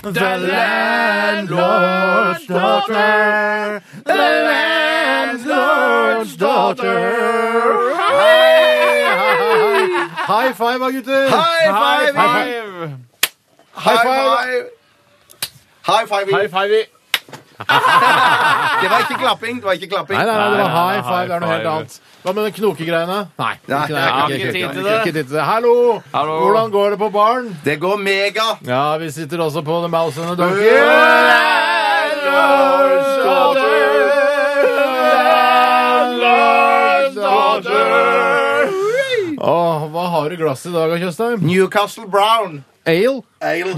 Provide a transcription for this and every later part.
The landlord's daughter. The landlord's daughter. High five, da, gutter! High five! High five! High five! High five. Det var ikke klapping. Det var ikke klapping. Nei, nei, nei, det var high five. Det er noe High helt five. annet. Hva med den knokegreiene? Nei, Nei. ikke, jeg har ikke, ikke ikke, tid til ikke, det. ikke tid til det. Hallo! Hallo. Hvordan går det på baren? Det går mega. Ja, vi sitter også på The Mouse and the Donkey. Landlord's Landlord's daughter. Åh, hva har du i glasset i dag, Tjøstheim? Newcastle Brown. Ale? Ale.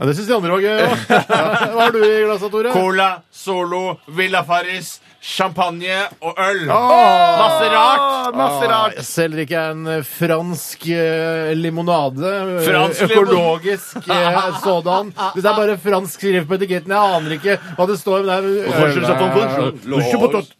Ja, det syns de andre òg. Hva har du i glasset, Tore? Cola, Solo, Villa Farris, champagne og øl. Åh, Masse rart. Masse rart. jeg Selv drikker jeg en eh, fransk eh, limonade. eh, Fransk økologisk eh, sådan. Dette er bare fransk skrift på etiketten. Jeg aner ikke hva det står. Men det er Forskjell, så på forskjell. Lås.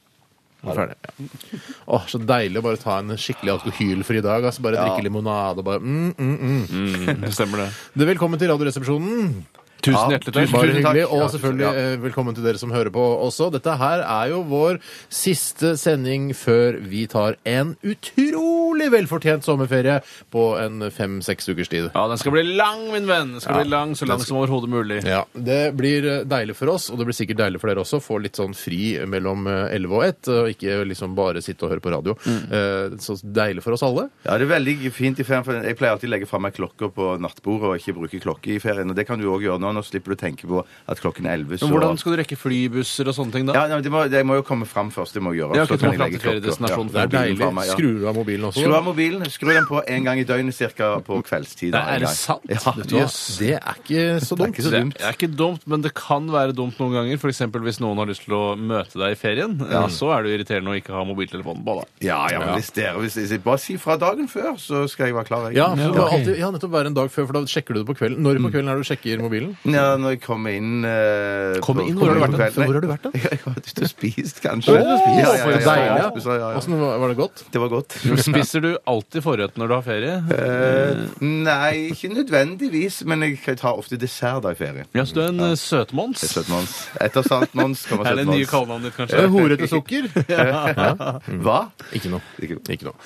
Ferdig. Ja. Åh, så deilig å bare ta en skikkelig alkohylfri dag. Altså bare drikke limonade og bare mm, mm, mm. Det stemmer, det. Du, Velkommen til Radioresepsjonen. Tusen hjertelig takk. Bare Tusen takk. hyggelig, og Ja, selvfølgelig tusen, eh, velkommen til dere som hører på også. Dette her er jo vår siste sending før vi tar en utrolig velfortjent sommerferie på en fem-seks ukers tid. Ja, den skal bli lang, min venn. Den skal bli lang, Så lang som overhodet mulig. Ja, Det blir eh, deilig for oss, og det blir sikkert deilig for dere også, å få litt sånn fri mellom eh, 11 og 1, og ikke liksom bare sitte og høre på radio. Mm. Eh, Så deilig for oss alle. Ja, det er veldig fint i ferien, for jeg pleier alltid å legge fra meg klokker på nattbordet og ikke bruke klokke i ferien. Og det kan du òg gjøre nå. Nå slipper du å tenke på at klokken er 11, så Men Hvordan skal du rekke flybusser og sånne ting da? ja, nei, det, må, det må jo komme fram først. Det må jeg gjøre. Det har så kan ikke jeg kommet fram legge til feriedestinasjonen klokker. Ja, Det er mobilen deilig. fra meg, ja. Skrur du av mobilen også? Skru av mobilen. Skru den på en gang i døgnet cirka på kveldstid. Nei, er en det gang. sant? Ja, Vet du hva? Yes, det er ikke så dumt. ikke så Det dumt. er ikke dumt, men det kan være dumt noen ganger. F.eks. hvis noen har lyst til å møte deg i ferien. Mm. eh, Så er det jo irriterende å ikke ha mobiltelefonen på. da. Ja, ja, men hvis dere hvis, hvis, Bare si fra dagen før, så skal jeg være klar. Jeg. Ja, for det må ok. alltid, ja, nettopp være en dag før, for da sjekker du det på kvelden. Når Mm. på kvelden er det du sjekker mobilen? Ja, når jeg kommer inn eh, Kommer på- inn? Hvor har du vært på da? kvelden- Hvor har du vært da? Jeg jeg har vært ute og spist, kanskje. Ja, ja, ja, for ja, deilig, ja. Jeg spiser, ja, ja. Åssen var var det godt? Det var godt. Spiser du alltid forrett når du har ferie? Eh, nei, ikke nødvendigvis, men jeg tar ofte dessert da i ferie. Ja, så du er en eh, søtmons. Søtmons. Etter Sant Mons kommer Er det nye Søtmons. kallenavnet ditt, Eh, kanskje? Horete sukker? Hva? Ikke noe. Ikke noe. Ikke noe.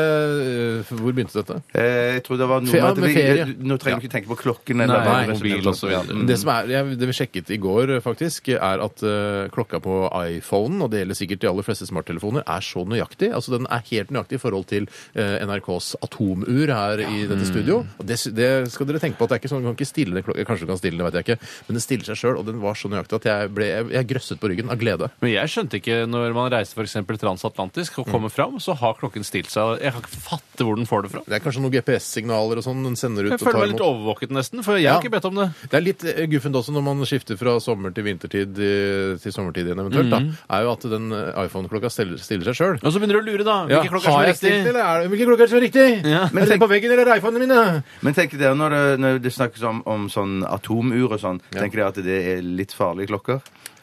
Eh, hvor begynte dette? Eh, jeg tror det var noe Fe- ja, med at vi- ferie. Nå trenger vi ikke tenke på klokken eller Nei, hva det mobil resonerte om. og så videre. Ja, mm. Det som er, jeg, det vi sjekket i går, eh, faktisk, er at eh, klokka på iPhonen, og det gjelder sikkert de aller fleste smarttelefoner, er så nøyaktig. Altså Den er helt nøyaktig i forhold til eh, NRKs atomur her i dette studio. Og det, sy- det skal dere tenke på at det er ikke sånn, du kan ikke stille den klokka, kanskje du kan stille den, vet jeg ikke, men den stiller seg sjøl, og den var så nøyaktig at jeg, ble, jeg, jeg grøsset på ryggen av glede. Men jeg skjønte ikke når man reiser for eksempel transatlantisk og kommer fram, så har klokken stilt seg. Jeg kan ikke fatte hvor den får det fra. Det er kanskje noen GPS-signaler og sånn den sender ut Jeg og føler tar meg litt imot. overvåket nesten, for jeg har Ja. ikke bedt om det. Det er litt eh, guffent også når man skifter fra sommer til vintertid eh, til sommertid igjen eventuelt, da, er jo at den eh, iPhone-klokka stiller, stiller seg sjøl. Og så begynner du å lure, da. Ja, Hvilke klokker som er riktig? stilt, eller er det, hvilke klokker er det som er riktig? Ja. Er det på veggen eller er det iPhonene mine? Men tenker dere når det, når det snakkes om, om sånn atomur og sånn, tenker dere at det er litt farlige klokker?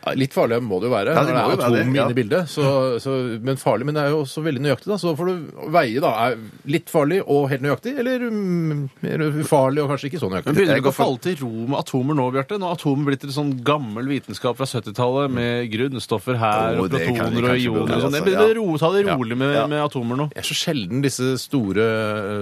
Ja, litt farlig må det jo være. Ja, det når det må er jo være atom det, ja. inne i bildet. Så, så, men farlig, men det er jo også veldig nøyaktig, da. Så får du veie, da. Er litt farlig og helt nøyaktig, eller mm, mer ufarlig og kanskje ikke så nøyaktig. Men Begynner du Jeg går ikke å falle til ro med atomer nå, Bjarte? Nå har atomer blitt en sånn gammel vitenskap fra 70-tallet med grunnstoffer her Å, og det kan vi protoner og kanskje burde, ioner og sånn. Jeg altså, ja. begynner å ro- ta det rolig med, med atomer nå. Det er så sjelden disse store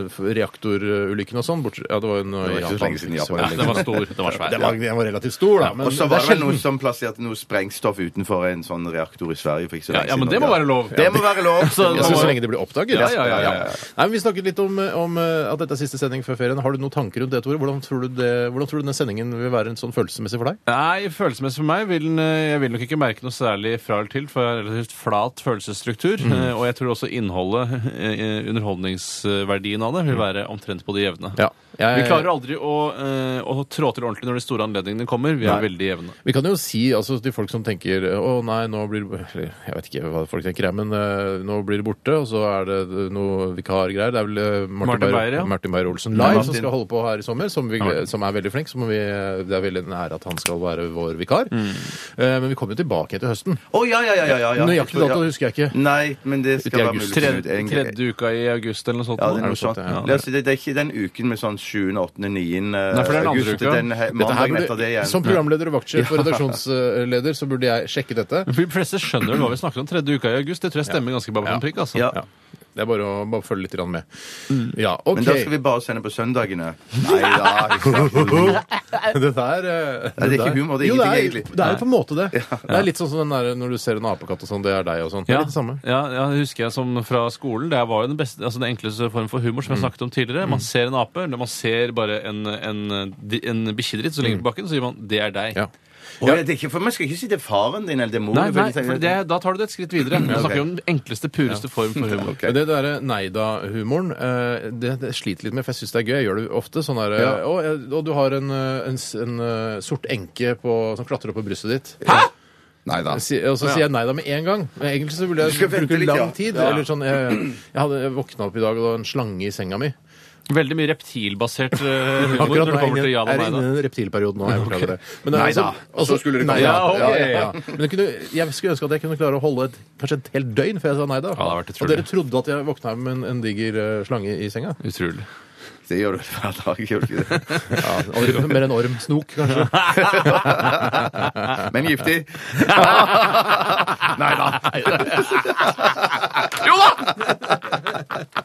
eh, reaktorulykkene og sånn. bortsett- Ja, det var jo nå i Det var ikke så lenge siden Japan. Ja, den var stor. Den var svær. Den var, den var relativt stor, da. Men Og så det var er det vel sjelden. noen som plasserte noe sånn sprengstoff utenfor en sånn reaktor i Sverige. For ikke så Ja, lenge ja, men siden. det må være lov. Det må være lov. Så- Det må Jeg synes være- så lenge det blir oppdaget. Eh, Ja, ja, ja, ja, ja. Nei, men vi snakket litt om, om eh, at dette er siste sending før ferien. Har du noen tanker rundt det, Tore? Hvordan tror du, det, hvordan tror du den sendingen vil være en sånn følelsesmessig for deg? Nei, følelsesmessig for meg vil den, eh, jeg vil nok ikke merke noe særlig fra eller til, for jeg har en relativt flat følelsesstruktur. eh, Og jeg tror også innholdet, eh, underholdningsverdien av det, vil være omtrent på det jevne. Jeg, Vi klarer aldri å, eh, å trå til ordentlig når de store anledningene kommer. Vi er veldig jevne. Vi kan jo si altså, til folk som tenker å nei, nå blir det eller, Jeg vet ikke hva folk tenker, jeg, men eh, nå blir det borte, og så er det noe vikargreier. Det er vel eh, Martin, Martin Beyer- Beyer, ja. Martin Beyer-Olsen Live som Martin. skal holde på her i sommer, som, vi, Martin. som er veldig flink. Som vi, eh, det er veldig en ære at han skal være vår vikar. Eh, men vi kommer jo tilbake etter høsten. Å, ja, ja, ja, ja, ja, ja. Nøyaktig dato husker jeg ikke. Nei, men det Ut i skal være august. mulig. Tredje, En- tredje uka i august eller noe sånt. Ja, nå. det er noe sånt. ja. La oss si, Det, det er ikke den uken med sånn 7., 8., 9. Nei, for det er den andre august. uka. Den he- mandagen etter det igjen. som programleder og vaktsjef og redaksjonsleder så burde jeg sjekke dette. For De fleste skjønner vel hva vi snakker om. Tredje uka i august. Det tror jeg stemmer ganske bare på Ja. en prikk. altså. Ja. Det er bare å bare følge litt grann med. Ja, Mm. OK. Men da skal vi bare sende på søndagene. Nei da. ikke sant. det der Nei, eh, det er ikke der- humor, det er jo, ingenting, det er, egentlig. Det er jo på en måte det. Det er litt sånn som den der, når du ser en apekatt og sånn, det er deg og sånn. Det Ja, er litt det samme. ja, ja, det husker jeg som fra skolen. Det var jo den, beste, altså den enkleste form for humor Mm. som jeg snakket om tidligere. Man ser en ape, eller man ser bare en, en, en bikkjedritt som ligger på bakken, så sier man 'det er Mm. deg'. Ja. Å, ja, det er ikke, for Man skal ikke si det er faren din eller det er moren. Nei, nei, for for det, er- da tar du det et skritt videre. Du ok. snakker om den enkleste, pureste form for humor. Ok. Det derre nei-da-humoren, eh, det, det sliter jeg litt med, for jeg syns det er gøy. Jeg gjør det ofte. sånn der, eh, Ja. å, jeg- Og du har en, eh, en, s- en eh, sort enke på, som klatrer opp på brystet ditt. Nei da. Jeg sier- Og så Ja. sier jeg nei da med en gang. Men egentlig så ville Du skal jeg vente bruke litt, ja. lang tid. Ja. Eller sånn, jeg, jeg, hadde, jeg våkna opp i dag, og det var en slange i senga mi. Veldig mye reptilbasert eh, humor Akkurat nå når det er kommer til jeg ja og nei. inne i da. en reptilperiode nå. Jeg beklager det. Men det er Nei altså- da. Og så altså- skulle det komme. nei, ja, Ja, ok. ja, ja, ja. Men jeg, kunne, jeg skulle ønske at jeg kunne klare å holde et, kanskje et helt døgn før jeg sa nei da. Ja, det hadde vært og dere trodde at jeg våkna med en, en diger eh, slange i senga? Utrolig. Det gjør du hver dag. gjør du ikke det? Ja, orm, mer enn orm. Snok, kanskje. Men giftig. Nei da. Jo da!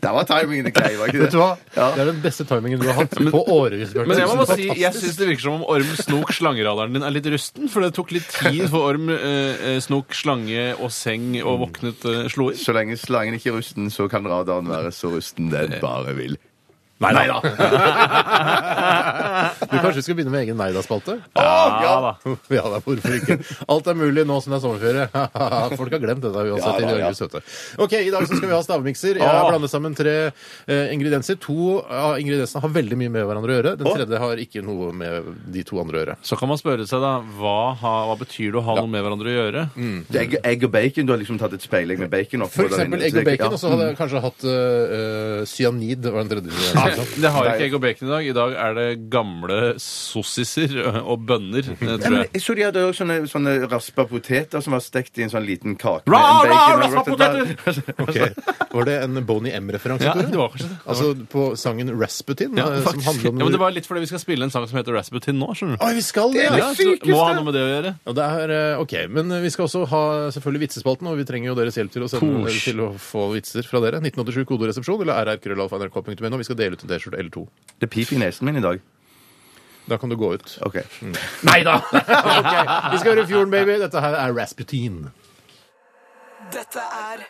Der var timingen grei, var ikke Vet du det? hva? Det er den beste timingen du har hatt på årevis. Bjarte. Men jeg må bare si, Fantastisk. jeg syns det virker som om Orm Snok slangeradaren din er litt rusten. For det tok litt tid for Orm eh, Snok slange og seng og våknet eh, slo inn. Så lenge slangen ikke er rusten, så kan radaren være så rusten den bare vil. Nei da. Du kanskje skal begynne med egen nei da-spalte? Ja da. Ja, da, hvorfor ikke? Alt er mulig nå som det er sommerferie. Folk har glemt dette Ja, da, uansett. i Norges søte. Ok, I dag så skal vi ha stavmikser. Jeg har blandet sammen tre eh, ingredienser. To av ingrediensene har veldig mye med hverandre å gjøre. Den tredje har ikke noe med de to andre å gjøre. Så kan man spørre seg, da, hva, ha, hva betyr det å ha noe med hverandre å gjøre? Det er Egg, egg og bacon. Du har liksom tatt et speilegg med bacon oppå. For der inne, eksempel egg så det- ja. og bacon, og så hadde jeg kanskje hatt eh, eh, cyanid. var den tredje ingrediensen. Mm. Ah, ikke sant? Det har jo ikke Nei. egg og bacon i dag. I dag er det gamle sossiser ø, og bønner, ø, Nei, tror Mm. men jeg. jeg så de hadde også sånne, sånne raspa poteter som var stekt i en sånn liten kake. med Ra, en ra, bacon og raspa rotten- Ok. Var det en Bonnie M-referanse? Ja, Tore? det var kanskje det. Altså på sangen Rasputin, Ja, eh, som faktisk. handler ja, om men det var litt fordi vi skal spille en sang som heter Rasputin nå, skjønner du. Oi, vi skal det! Ja, ja. så det må ha noe med det å gjøre. Og det er, eh, ok, Men vi skal også ha selvfølgelig vitsespalten, og vi trenger jo deres hjelp til å, sende, Kos. til å få vitser fra dere. 1987 koderesepsjon eller rrkrøllalfa.nrk.no. Vi skal dele ut en T-skjorte eller to. Det piper i nesen min i dag. Da kan du gå ut. Ok. Nei da! Ok, Vi skal høre Fjorden, baby. Dette her er Rasputin. Dette er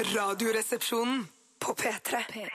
Radioresepsjonen på P3.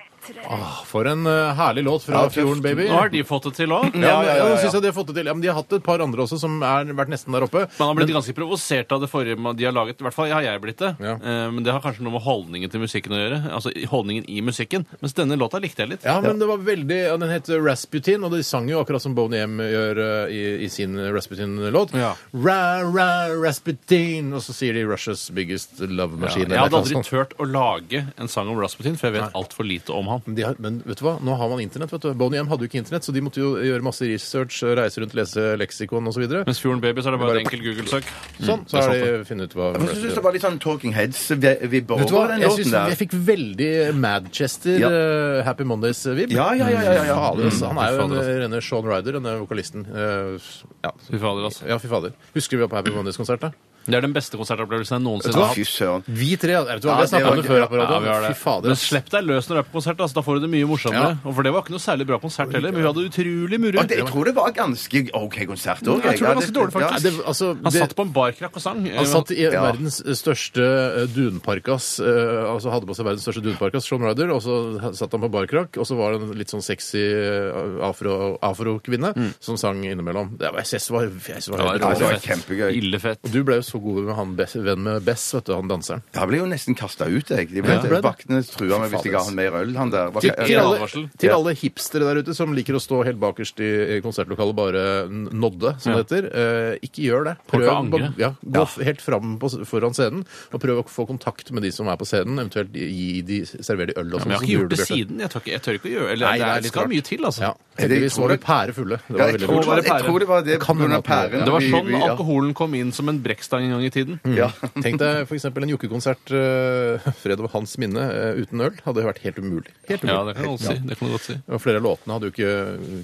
Ah, For en eh, herlig låt fra Ja, tøft. Fjorden, baby. Nå har de fått det til òg. Ja, Ja, ja, ja, ja. nå synes jeg De har fått det til. Ja, men de har hatt et par andre også som har vært nesten der oppe. Man har blitt ganske provosert av det forrige man- de har laget. I hvert fall har jeg blitt det. Ja. Eh, Men det har kanskje noe med holdningen til musikken å gjøre. Altså i- holdningen i musikken. Mens denne låta likte jeg litt. Ja, men det var veldig, ja, Den het Rasputin, og de sang jo akkurat som Boney M gjør eh, i, i sin Rasputin-låt. Ja. Ra, ra, Rasputin, og så sier de Russia's biggest love Jeg machine. hadde eller noe aldri sånt. turt å lage en sang om Rasputin, for jeg vet altfor lite om han. Men de har, men vet du hva, nå har man internett. vet du. Boney M hadde jo ikke internett, så de måtte jo gjøre masse research, reise rundt, lese leksikon osv. Så videre. Mens Fjorden Baby så er det bare et enkelt Google-søk. sånn, så har de funnet ut hva Jeg synes det Rasputin var litt sånn Talking Heads-vibber Vet du hva, over den jeg, synes, låten der. jeg fikk veldig Madchester Ja. eh, Happy Mondays-vib. Ja, ja, ja, ja, ja, Mm. ja. Fader, altså. Han er jo en Fader, eh, rene Sean Ryder, denne vokalisten. Eh, ja, Fy fader, altså. Ja, fy fader. Husker vi var på Happy Mondays-konsert, da? Det er den beste konsertopplevelsen jeg noensinne Å, har hatt. Fy søren. Vi tre, ja, vet du hva, Ja, vi har det snakket om var det gøy. før her på Ja, radioen. vi har det. Fy fader. Men ass. slipp deg løs når du er på konsert, altså. da får du det mye morsommere. Ja. Og For det var ikke noe særlig bra konsert heller, men vi hadde utrolig mye Og rundt. det, jeg tror det var ganske OK konsert òg. jeg tror det var ganske dårlig, Nei, faktisk. Mm, det, altså, Han det, satt på en barkrakk og sang. han satt i Ja. verdens største eh, dunparkas, eh, altså hadde på seg verdens største dunparkas, Sean Ryder, og så satt han på barkrakk, og så var det en litt sånn sexy eh, afro- Mm. afro-kvinne som sang innimellom. Det var, jeg synes det var, jeg synes det var, Det var helt det var råfett. kjempegøy. Ille fett. Du ble jo så så gode med han Bess, venn med Bess, vet du, han danseren. Jeg ble jo nesten kasta ut, jeg. De ble, Ja, ble det? Vaktene trua meg hvis jeg ga han mer øl, han der. Hva- Til, til, ja, alle, advarsel. til Ja. alle hipstere der ute som liker å stå helt bakerst i i konsertlokalet, bare n- nodde, som det heter. Eh, ikke gjør det. Folk kan på- angre. ja, gå f- helt fram på, s- foran scenen, og prøv å få kontakt med de som er på scenen. Eventuelt gi de servere de øl og sånn. Men jeg har som ikke du gjort det Bjarte. siden. Jeg tør ikke, jeg tør ikke å gjøre eller, Nei, det. det er er- litt Det skal rart. mye til, altså. Ja, Jeg heldigvis tror var vi det- pærefulle. Det Ja, var jeg, veldig tror, Må lurt. være jeg tror det var det Det kan pga. hende at det pæren. var- Det var Vi- sånn vi- ja. alkoholen kom inn som en brekkstang en gang i tiden. Ja. Tenk deg f.eks. en jokkekonsert uh, fred over hans minne eh, uten øl. Hadde vært helt umulig. Helt umulig. Ja, det kan du godt si. Det kan du godt si. Og flere av låtene hadde jo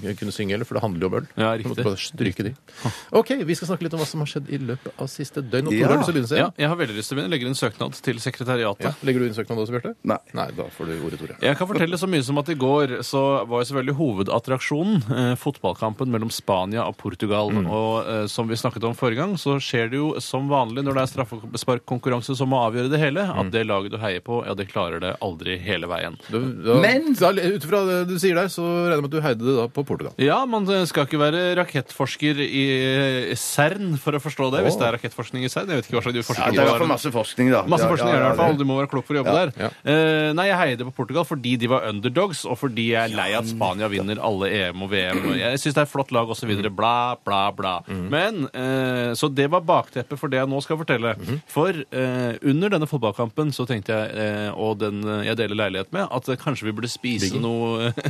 ikke kunnet synge heller, for det handler jo om øl. Ja, Du måtte riktig. bare stryke de. OK, vi skal snakke litt om hva som har skjedd i løpet av siste døgn. Og Tore, Ja. har du lyst til å begynne Ja, serien? jeg har veldig lyst til å begynne. Legger inn søknad til sekretariatet. Ja. Legger du inn søknad også, Bjarte? Nei. Nei, da får du ordet, Tore. Jeg kan fortelle så mye som at i går så var jo selvfølgelig hovedattraksjonen eh, fotballkampen mellom Spania og Portugal. Og eh, som vi snakket om forrige gang, så skjer det jo som vanlig når det er straffesparkkonkurranse som må avgjøre det hele, at det laget du heier på, ja, det klarer det aldri hele veien. Da, da, Men- da, Ut ifra det du sier der, så regner jeg med at du heide det da på Portugal. Ja, man eh, skal ikke være rakettforsker i eh, CERN for å forstå det, hvis det er rakettforskning i CERN. Jeg vet ikke hva slags du Ja, forsker det er i hvert på. fall masse forskning, da. Masse Ja, forskning ja, er det i hvert fall. ja, Du må være klok for å jobbe der. Eh, nei, jeg heide på Portugal fordi de var underdogs, og fordi jeg er lei av at Spania vinner alle EM og VM. og Jeg syns det er et flott lag osv. Mm. Bla, bla, bla. Men eh, Så det var bakteppet for det jeg nå skal fortelle. Mm -hmm. For eh, under denne fotballkampen så tenkte jeg, eh, og den eh, jeg deler leilighet med, at eh, kanskje vi burde spise noe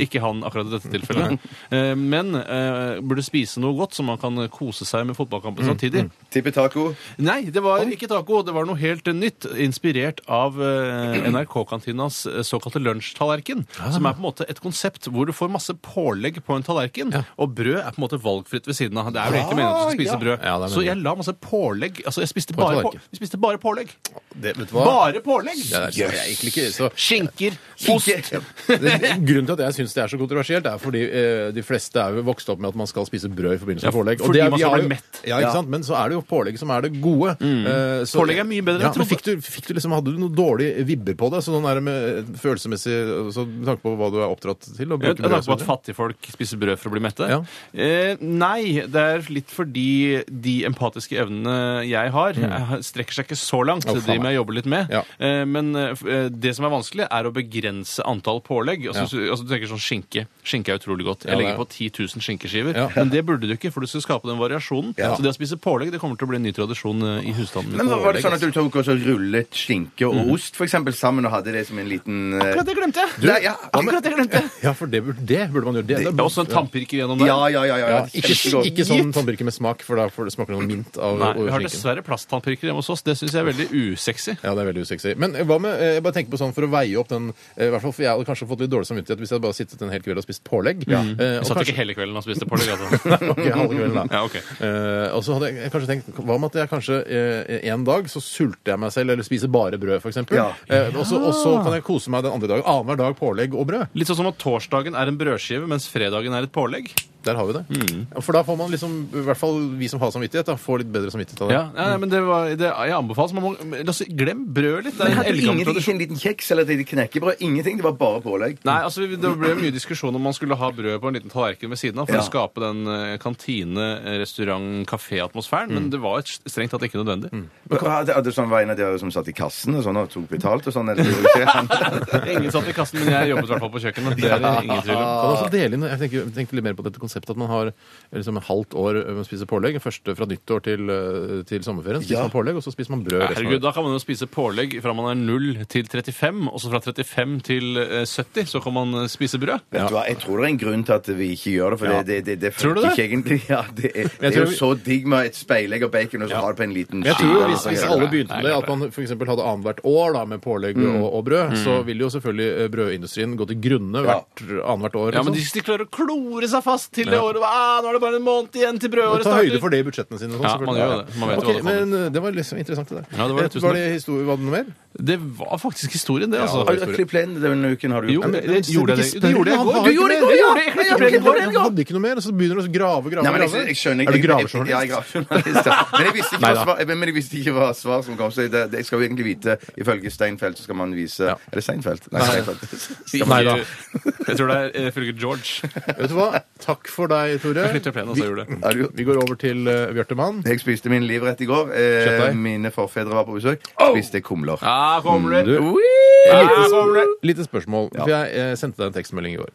Ikke han akkurat i dette tilfellet, eh, men eh, burde spise noe godt, så man kan kose seg med Mm, fotballkampen samtidig. Tipper taco. Nei, det var ikke taco. Det var noe helt nytt, inspirert av eh, NRK-kantinas eh, såkalte lunsjtallerken. Ah. Som er på en måte et konsept hvor du får masse pålegg på en tallerken, og brød er på en måte valgfritt ved siden av. Det er jo egentlig meningen at du skal spise brød. Ah, Ja, det er Så meningen. jeg la masse pålegg Altså, jeg spiste en bare, på, tallerken. vi spiste bare pålegg. Det, vet du Bare pålegg! Ja, det er egentlig ikke så Skinker, ost Det- Grunnen til at jeg syns det er så kontroversielt, er fordi eh, de fleste er jo vokst opp med at man skal spise brød i forbindelse med Ja, pålegg. fordi det er- man vi skal har bli jo- mett. Ja, ikke sant? Men så er det jo pålegg som er det gode. Eh, så- Pålegg er mye bedre enn Ja, jeg men trodde. fikk du, fikk du liksom, hadde du noen dårlige vibber på det? Sånn der med følelsesmessig eh, så Med tanke på hva du er oppdratt til? Og Jeg bruker brød jeg tenker på som at det. fattigfolk spiser brød for å bli mette. Ja. Eh, nei, det er litt fordi de empatiske evnene jeg har, eh, strekker seg ikke så langt. Mm. Å, faen de må meg. jeg jobbe litt med. Ja. Eh, men eh, f- eh, det som er vanskelig, er å begrense antall pålegg. Altså, hvis du- altså, du tenker sånn skinke. Skinke er utrolig godt. Jeg Ja, det legger er- på 10 000 skinkeskiver. Ja. Men det burde du ikke, for du skal skape den variasjonen. Så det å spise pålegg det kommer til å bli en ny tradisjon eh, i husstanden min. Men var det sånn at du tok og så rullet skinke og ost for eksempel, sammen og hadde det som en liten eh, Mhm. Akkurat det glemte jeg! Nei, ja, Akkurat det glemte jeg! Ja, for det burde, det burde man gjøre. Det, det, Det er også en tannpirker gjennom der. Ja, ja, ja. ja, ja, ja. ikke, Kjempegodt. ikke sånn tannpirker med smak, for da får det smaker noe mint av Nei, av vi har skinken. dessverre plasttannpirker hjemme hos oss. Det syns jeg er veldig usexy. Ja, det er veldig usexy. Men eh, hva med, eh, jeg bare tenker på sånn for å veie opp den eh, i hvert fall for Jeg hadde kanskje fått litt dårlig samvittighet hvis jeg hadde bare sittet en hel kveld og spist pålegg. Eh, Jeg og satt kanskje- ikke hele kvelden og spiste pålegg. Nei, Altså. ok, halve kvelden, da. Ja, ok. Eh, og så hadde jeg- jeg kanskje tenkt Hva med at jeg kanskje eh, en dag så sulter jeg meg selv, eller spiser bare brød, f.eks. Ja. Eh, og, så- og Ah. så kan jeg kose meg den andre dagen. Annenhver dag pålegg og brød. Litt sånn som at torsdagen er en brødskive, mens fredagen er et pålegg. Der har vi det. Mm. Ja, For da får man liksom, i hvert fall vi som har samvittighet, da, får litt bedre samvittighet av det. Ja, nei, nei, men det var, det, Jeg anbefaler så man må, la oss si, Glem brød litt. Det Men er en hadde du eldgammel ingenting, ikke tradisjon. en liten kjeks eller et lite knekkebrød? Ingenting, det var bare pålegg. Nei, altså vi- Det ble mye diskusjon om man skulle ha brød på en liten tallerken ved siden av for Ja. å skape den eh, kantine-, restaurant-, kafé-atmosfæren, men det var strengt tatt ikke nødvendig. Men Hadde, hadde sånn veien av dere som satt i kassen og sånn og tok betalt og sånn? Eller, ikke? Ingen satt i kassen, men jeg jobbet i hvert fall på kjøkkenet. Det er det ingen tvil om. Kan også dele inn, jeg tenker, tenkte litt mer på dette konseptet at man har liksom et halvt år med å spise pålegg. Første fra nyttår til, eh, til sommerferien spiser Ja. man pålegg, og så spiser man brød. resten av Herregud, året. Da kan man jo spise pålegg fra man er 0 til 35, og så fra 35 til eh, 70 så kan man eh, spise brød. Vet du hva, Jeg tror det er en grunn til at vi ikke gjør det, for det, det, det, det Tror du funker det? ikke egentlig. Ja, det, er, det er tror jo vi- så digg med et speilegg og bacon, og så har du på en liten Men jeg tror skive jo eller hvis, noe hvis sånt. alle begynte med det, at man f.eks. hadde annethvert år da, med pålegg og, og brød, så Mm. ville jo selvfølgelig eh, brødindustrien gå til grunne hvert annethvert år. Ja, men de, liksom. de klarer å klore seg fast til det året. Ah, nå er det bare en måned igjen til brødåret Ta høyde for starter. det i budsjettene sine. og Sånn, Ja, man selvfølgelig. gjør det. Man vet jo Ok, hva det men eh, det var liksom interessant, det der. Ja, det var det. Eh, Tusen var det, historie, var det noe mer? Det var faktisk historien, det, altså. Har du klippet plenen denne uken? har du Jo, gjort det, det? det gjorde jeg det. Det gjorde jeg i Han går. har Det gjorde jeg i ikke går, det. ja! Jeg Han klippet plenen i går. han hadde ikke noe mer, og så begynner han å grave, grave, Nei, men jeg, grave. jeg skjønner ikke Er du Ja, jeg gravejournalist? er gravejournalist. ja. Men jeg visste ikke hva svar, Neida. men jeg visste ikke hva svar som kom. Så det, det jeg skal jo egentlig vite Ifølge Steinfeld så skal man vise Ja. Er det Steinfeld? Nei, Steinfeld. Nei da. Jeg tror det er eh, frøken George. Vet du hva? Takk for deg, Tore. Jeg flytter plenen, så gjør det. Er du- Vi går over til uh, Bjørtemann. Jeg spiste min livrett i går. Eh, Kjøttdeig? mine forfedre var på besøk. Spiste kumler. Ja, Ah, kommer Ah, du. Du, Ja, kommer lite, du. lite spørsmål. For jeg eh, sendte deg en tekstmelding i går.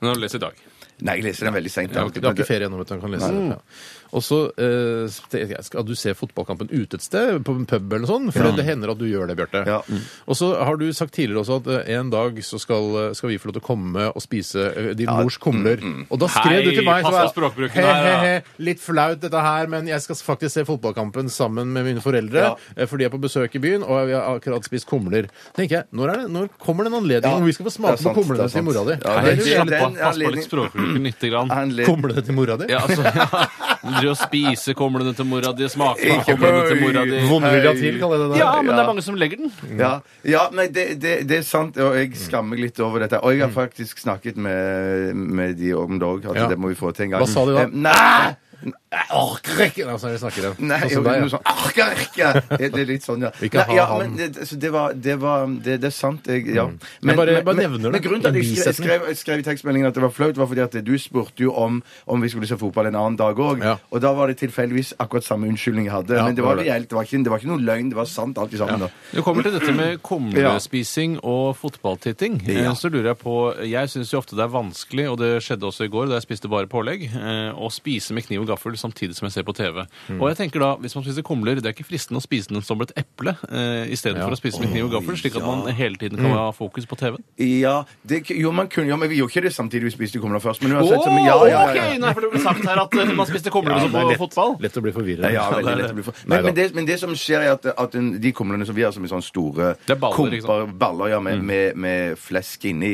Nå leser jeg i dag. Nei, jeg leser den veldig seint. Ja, du har ikke ferie ennå, vet du. Han kan lese Mm. det. Ja. Og så eh, tenkte jeg, skal du se fotballkampen ute et sted, på en pub eller noe sånt? For det hender at du gjør det, Bjarte. Ja. Og så har du sagt tidligere også at eh, en dag så skal, eh, skal vi få lov til å komme og spise eh, din mors kumler. Mm, Og da skrev Hei, du til meg så pass på var jeg, språkbruken he, her, he, ja. he, litt flaut dette her, men jeg skal faktisk se fotballkampen sammen med mine foreldre, eh, for de er på besøk i byen, og vi har akkurat spist kumler. tenker jeg, når, er det, når kommer den anledningen Ja, hvor vi skal få det er smake sant, på det er kumlene til sant. mora di? Ja, Nei, det er det sant, den- er litt- Pass på anledning- litt språkbruken lite grann. Han le- Kumlene til mora di? Ja, altså, ja. Du driver og spiser kumlene til mora di, smaker Ikke kumlene til mora di. høy. Vondvilja til, kaller jeg det der. Ja, men det Ja. er mange som legger den. Ja, ja nei, det, det, det er sant, og jeg skammer meg litt over dette. Og jeg har faktisk snakket med, med de om det òg, at Mm. Ja. det må vi få til en gang. Hva sa de da? Eh, Nei! Jeg orker ikke! Nei, sånn er det snakker jeg. Nei, Sånn jo, som deg, noe ja. sånn, orker ikke! Det er litt sånn, ja. Vi kan Nei, ha ja, han. Mm. men det, altså, det var, det, var det, det er sant, jeg, ja. Men, bare- bare nevner det. Men grunnen til at jeg skrev, En jeg bisetning. skrev, jeg skrev i tekstmeldingen at det var flaut, var fordi at du spurte jo om, om vi skulle se fotball en annen dag òg. Ja. Og da var det tilfeldigvis akkurat samme unnskyldning jeg hadde. Ja, men det var det var det. reelt, det var ikke, det var ikke noe løgn, det var sant alt i sammen. da. Du kommer til dette med kumlespising og fotballtitting. Eh, Så lurer jeg på Jeg syns jo ofte det er vanskelig, og det skjedde også i går da jeg spiste bare pålegg, eh, å spise med kniv og gaffel samtidig som jeg ser på TV. Mm. Og jeg tenker da, hvis man spiser kumler, det er ikke fristende å spise den som et eple eh, i stedet for å spise med kniv og gaffel, slik at man hele tiden Mm. kan ha fokus på TV-en. Ja, det, jo, man kunne, ja, men vi gjorde ikke det samtidig vi spiste kumler først. Men Å, uansett, så- men ja, ja, ja, ja. ok! Nei, for det ble sagt her at eh, man spiste kumler som på fotball. Lett å bli forvirret. Ja, ja, veldig lett å bli for... men, Neida. men, det, men det som skjer, er at, at en- de kumlene som vi har, som er sånne store Det er baller, ikke sant? Mm. baller ja, med, med, med flesk inni,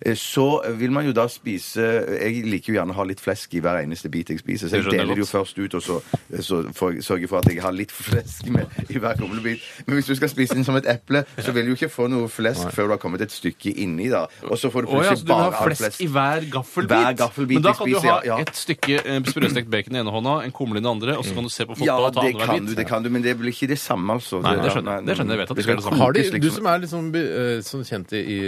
eh, så vil man jo da spise Jeg liker jo gjerne å ha litt flesk i hver eneste bit jeg spiser, så Det jeg skjønner jeg deler det jo først ut, og så, eh, så får jeg sørger for at jeg har litt flesk med i hver kumlebit. Men hvis du skal spise den som et eple, så vil du jo ikke få noe flesk før du har kommet et stykke inni, da. Og så får du Å ja, plutselig så du vil bare ha all flesk i hver gaffelbit? Hver gaffelbit Men da vi kan du spiser, ha ja, ja. et stykke eh, sprøstekt bacon i ene hånda, en kumle i den andre, og så kan du se på Ja, fotball og ta det andre kan bit. du, det kan du, men det blir ikke det samme, altså. Nei, det skjønner jeg. Det skjønner jeg. Jeg vet at det ikke er det samme. Har de, kokes, du liksom. som er liksom be, eh, sånn kjent i, i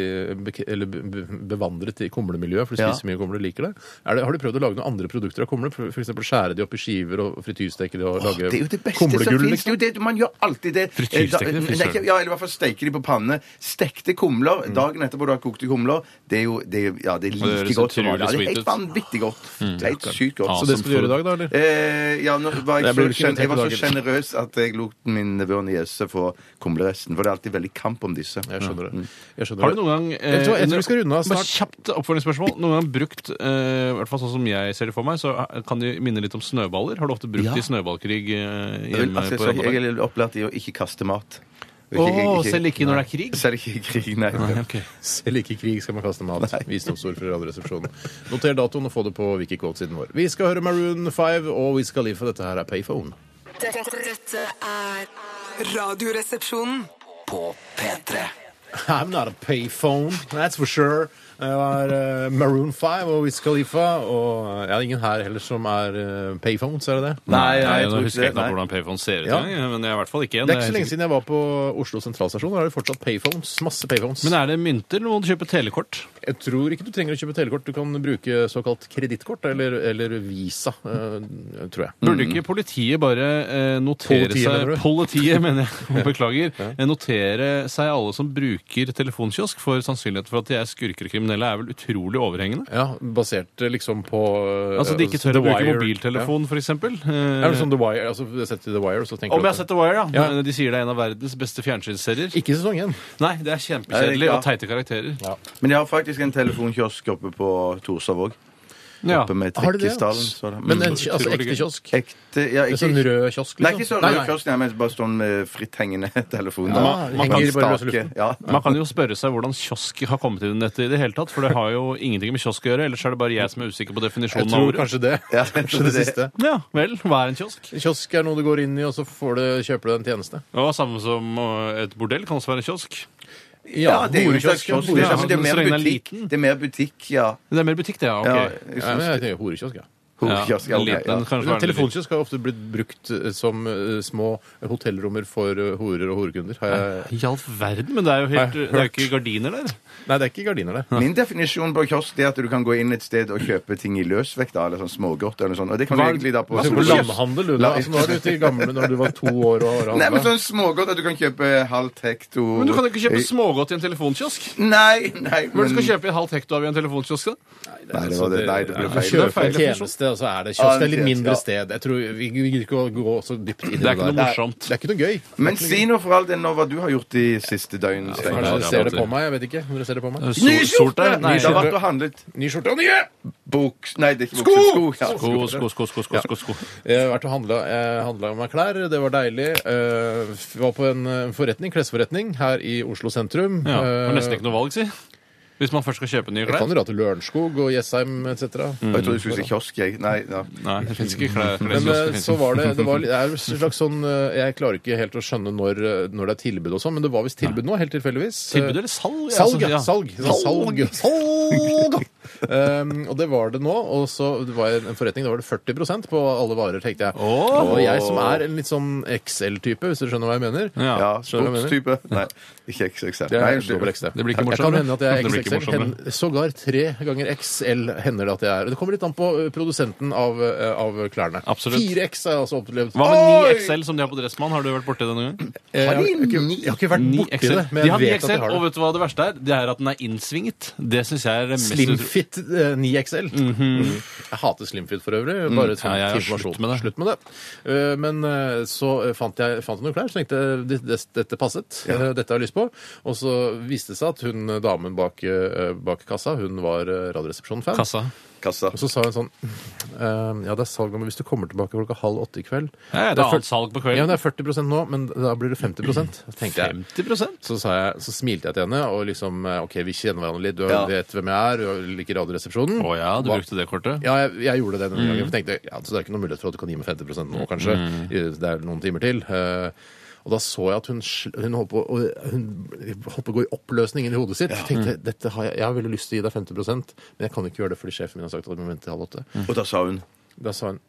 bek- eller be- be- bevandret i kumlemiljøet, for du Ja. spiser mye kumle og liker det. Er det, har du prøvd å lage noen andre produkter av kumle? For- for eksempel skjære de opp i skiver og frityrsteke de og lage Det er jo det beste som finnes. kumlegull? Det Liksom? er jo det, man gjør alltid det. Frityrstekte Eh, da- fy nei, søren. ikke- Ja, eller i hvert fall steker de på panne. Stekte kumler dagen etterpå du har kokte kumler, det er jo det er, ja, det er Mm. det like høres godt som utrolig vanlig. Ja, Det er sweet helt ut. Mm. vanvittig godt. Det er helt sykt godt. Så det skal du gjøre i dag, da? eller? Eh, ja, nå var jeg, Det blir så, ikke sjen- jeg var så dagen. sjenerøs at jeg lot min nevø og niese få kumleresten. For det er alltid veldig kamp om disse. Jeg skjønner Mm. det. Jeg skjønner Har du det. noen gang eh, Jeg tror- jeg tror vi skal runde av Bare snart. kjapt oppfølgingsspørsmål. Noen gang brukt, eh, i hvert fall sånn som jeg ser det for meg, så eh, kan de minne litt om snøballer. Har du ofte brukt det i snøballkrig eh, Jeg, vil, hjemme altså, på så jeg, Randaberg? jeg er opplært i å ikke kaste mat. Ikke- Å, ikke- selv ikke når det er krig? Selv ikke i krig, nei. Ok. Selv ikke i krig skal man kaste mat. Visdomsord fra Radioresepsjonen. Noter datoen og få det på Wikiquote-siden vår. Vi skal høre Maroon 5 og We Skal Live, for dette her er Payphone. Dette, dette er Radioresepsjonen. På P3. I'm not a payphone, that's for sure. Det var eh, Maroon 5 og Wiz Khalifa. Og eh, ja, ingen her heller som er eh, payphones, er det det? Nei, Nei, jeg nå tror ikke husker jeg det, ikke nei. hvordan payphone ser ut, Ja. jeg, men jeg er i hvert fall ikke en. Det er ikke Jeg så er lenge siden jeg var på Oslo sentralstasjon. Da er det fortsatt payphones. Masse payphones. Men er det mynter, eller må du kjøpe telekort? jeg tror ikke du trenger å kjøpe telekort. Du kan bruke såkalt kredittkort eller, eller Visa, eh, tror jeg. Burde ikke politiet bare eh, notere Politiet, seg mener du? Politiet, mener jeg. Beklager. Eh, Notere seg alle som bruker telefonkiosk, for sannsynligheten for at de er skurker og kriminelle, er vel utrolig overhengende. Ja, Basert eh, liksom på eh, Altså de ikke tør The å bruke Wire. mobiltelefon, for eksempel. Ja. Er det Eh, sånn The Wire? Altså, sett til The Wire, så tenker Om du at- jeg har sett The Wire, ja. Ja. De sier det er en av verdens beste fjernsynsserier. Ikke sesong én. Nei, det er Nei, det kjempekjedelig er og teite karakterer. Men jeg har faktisk en telefonkiosk oppe på Torshov òg. Ja. Oppe med Har de det? Trikkestallen. så da- Men Mm. en, altså Utrolig ekte gøy. kiosk? Ekte ja, En sånn rød kiosk? Nei, ikke sånn Nei, rød nei. kiosk, nei, men bare sånn med fritthengende telefon. da. Ja, man kan henger bare løs i stake. luften. Ja. Man kan jo spørre seg hvordan kiosk har kommet inn i dette i det hele tatt, for det har jo ingenting med kiosk å gjøre, ellers er det bare jeg som er usikker på Jeg definisjonen av tror ordet. kanskje det. Ja, Kanskje det siste. Ja, vel, hva er en kiosk? Kiosk er noe du går inn i, og så får du, kjøper du en tjeneste. Ja, samme som øh, et bordell kan også være en kiosk. Ja, det er jo en slags kiosk. horekiosk, ja. Det er, Ja, men det er men mer så lenge den er butikk. liten. Det er mer butikk, ja. Det er mer butikk, det. ja, ja ok. jeg Ja, men synes- jeg tenker horekiosk, ja. Hovedkiosk, ja, en ok, ja. liten, kanskje Men være en liten- Telefonkiosk har ofte blitt brukt eh, som eh, små hotellrommer for eh, horer og horekunder. Har jeg... I all verden, men det er jo Nei, helt, det er jo hørt. ikke gardiner der. Nei, det er ikke gardiner, det. Min definisjon på kiosk det er at du kan gå inn et sted og kjøpe ting i løsvekt, da, eller sånn smågodt eller noe sånt. Og det kan du Hva- egentlig da på sånn Hva skal du på landhandel, du? da? La- Altså, nå er du til gamle når du var to år og har Nei, men handlet. sånn smågodt at du kan kjøpe halvt hekto Men du kan jo ikke kjøpe smågodt i en telefonkiosk. Nei, nei, Hva er det du skal kjøpe i en halv hekto av i en telefonkiosk? da? Nei, det var det. Nei, det ble Du feil. Det kjøper kjøper ble feil. en tjeneste, og så er det Ja, kiosk. det er Det er litt kiosk, mindre ja. sted. Jeg tror, vi vi gidder ikke å gå så dypt inn i Det er ikke noe der. morsomt. Det er ikke noe gøy. Men si noe for all del nå hva du har gjort de siste døgnene. Steinar. Kanskje det er dere ser det vanskelig. på meg? Jeg vet ikke. om Dere ser det på meg. Eh, Sol- soltær? Nei, Nei, det har vært og handlet Ny skjorte og nye! buks... Nei, det er ikke Sko! bukser. Sko! sko, sko, sko, sko, sko, sko, sko. Jeg har vært og handla, jeg handla meg klær. Det var deilig. Eh, var på en eh, forretning, klesforretning her i Oslo sentrum. Ja, det Eh, var nesten ikke noe valg, si. Hvis man først skal kjøpe nye jeg kan klær. jo dra til Lørenskog og Jessheim Ja. etc. Jeg trodde du skulle si kiosk, jeg. Nei, ja. Nei, det fins ikke klær. Men eh, kleskiosker. så var det Det, var, det er en slags sånn eh, Jeg klarer ikke helt å skjønne når, eh, når det er tilbud og sånn, men det var visst tilbud nå, helt tilfeldigvis. Eh, Tilbud eller salg? Salg, Altså, ja. Salg. Salg! Salg! um, og det var det nå. Og så var jeg i en forretning, da var det 40 på alle varer, tenkte jeg. Åh! Og jeg som er en litt sånn XL-type, hvis du skjønner hva jeg mener. Ja. ja skjønner du hva jeg Bukstype. Nei, ikke XXL. Det Nei, er unnskyld. dobbel XL. Det blir ikke Jeg kan morsommere. hende at jeg Det blir er ikke XXL. morsommere. hen- Sågar tre ganger XL hender det at jeg er. Det kommer litt an på eh, produsenten av, eh, av klærne. Absolutt. 4X har jeg altså opplevd. Hva med Oi! 9XL som de har på Dressmann? Har du vært borti det noen gang? Eh, Har de jeg, har ikke, ni- jeg har ikke vært 9 borti det, men De jeg har 9 vet at de XL, har og det. vet du hva det verste er? Det er at den er innsvinget. Det syns jeg er det mest utro- Slimfit eh, 9XL. Jeg hater Slimfit for øvrig. Bare sånn Mhm. Mm. Ja, ja, til ja, slutt informasjon. med det. Slutt med det. Eh, Men eh, så eh, fant jeg fant jeg noen klær, så tenkte jeg eh, det- det- dette passet. Eh, Dette har jeg lyst på. Og så viste det seg at hun eh, damen bak, eh, bak kassa, hun var eh, Radioresepsjonen-fan. Kassa. Kassa. Og så sa hun sånn ehm, Ja, det er salg nå, men hvis du kommer tilbake klokka halv åtte i kveld Ja, ja, det er annet salg på kvelden. Ja, men det er 40 nå, men da blir det 50 Så tenkte jeg. 50 Så, sa jeg, så smilte jeg til henne, og liksom eh, OK, vi kjenner hverandre litt, du Ja. vet hvem jeg er, du liker Radioresepsjonen. Å ja, du Hva- brukte Mm. det kortet? ja, jeg, jeg gjorde det denne gangen. For jeg tenkte, ja, så det er ikke noen mulighet for at du kan gi meg 50 nå, kanskje. Mm. Eh, Det er noen timer til. Eh, Og da så jeg at hun, sl- hun, holdt, på, å- hun holdt på å gå i oppløsning inni hodet sitt. Jeg tenkte, Mm. dette har jeg, jeg har veldig lyst til å gi deg 50 men jeg kan ikke gjøre det fordi sjefen min har sagt at du må vente til halv åtte. Mm. Og da sa hun Da sa hun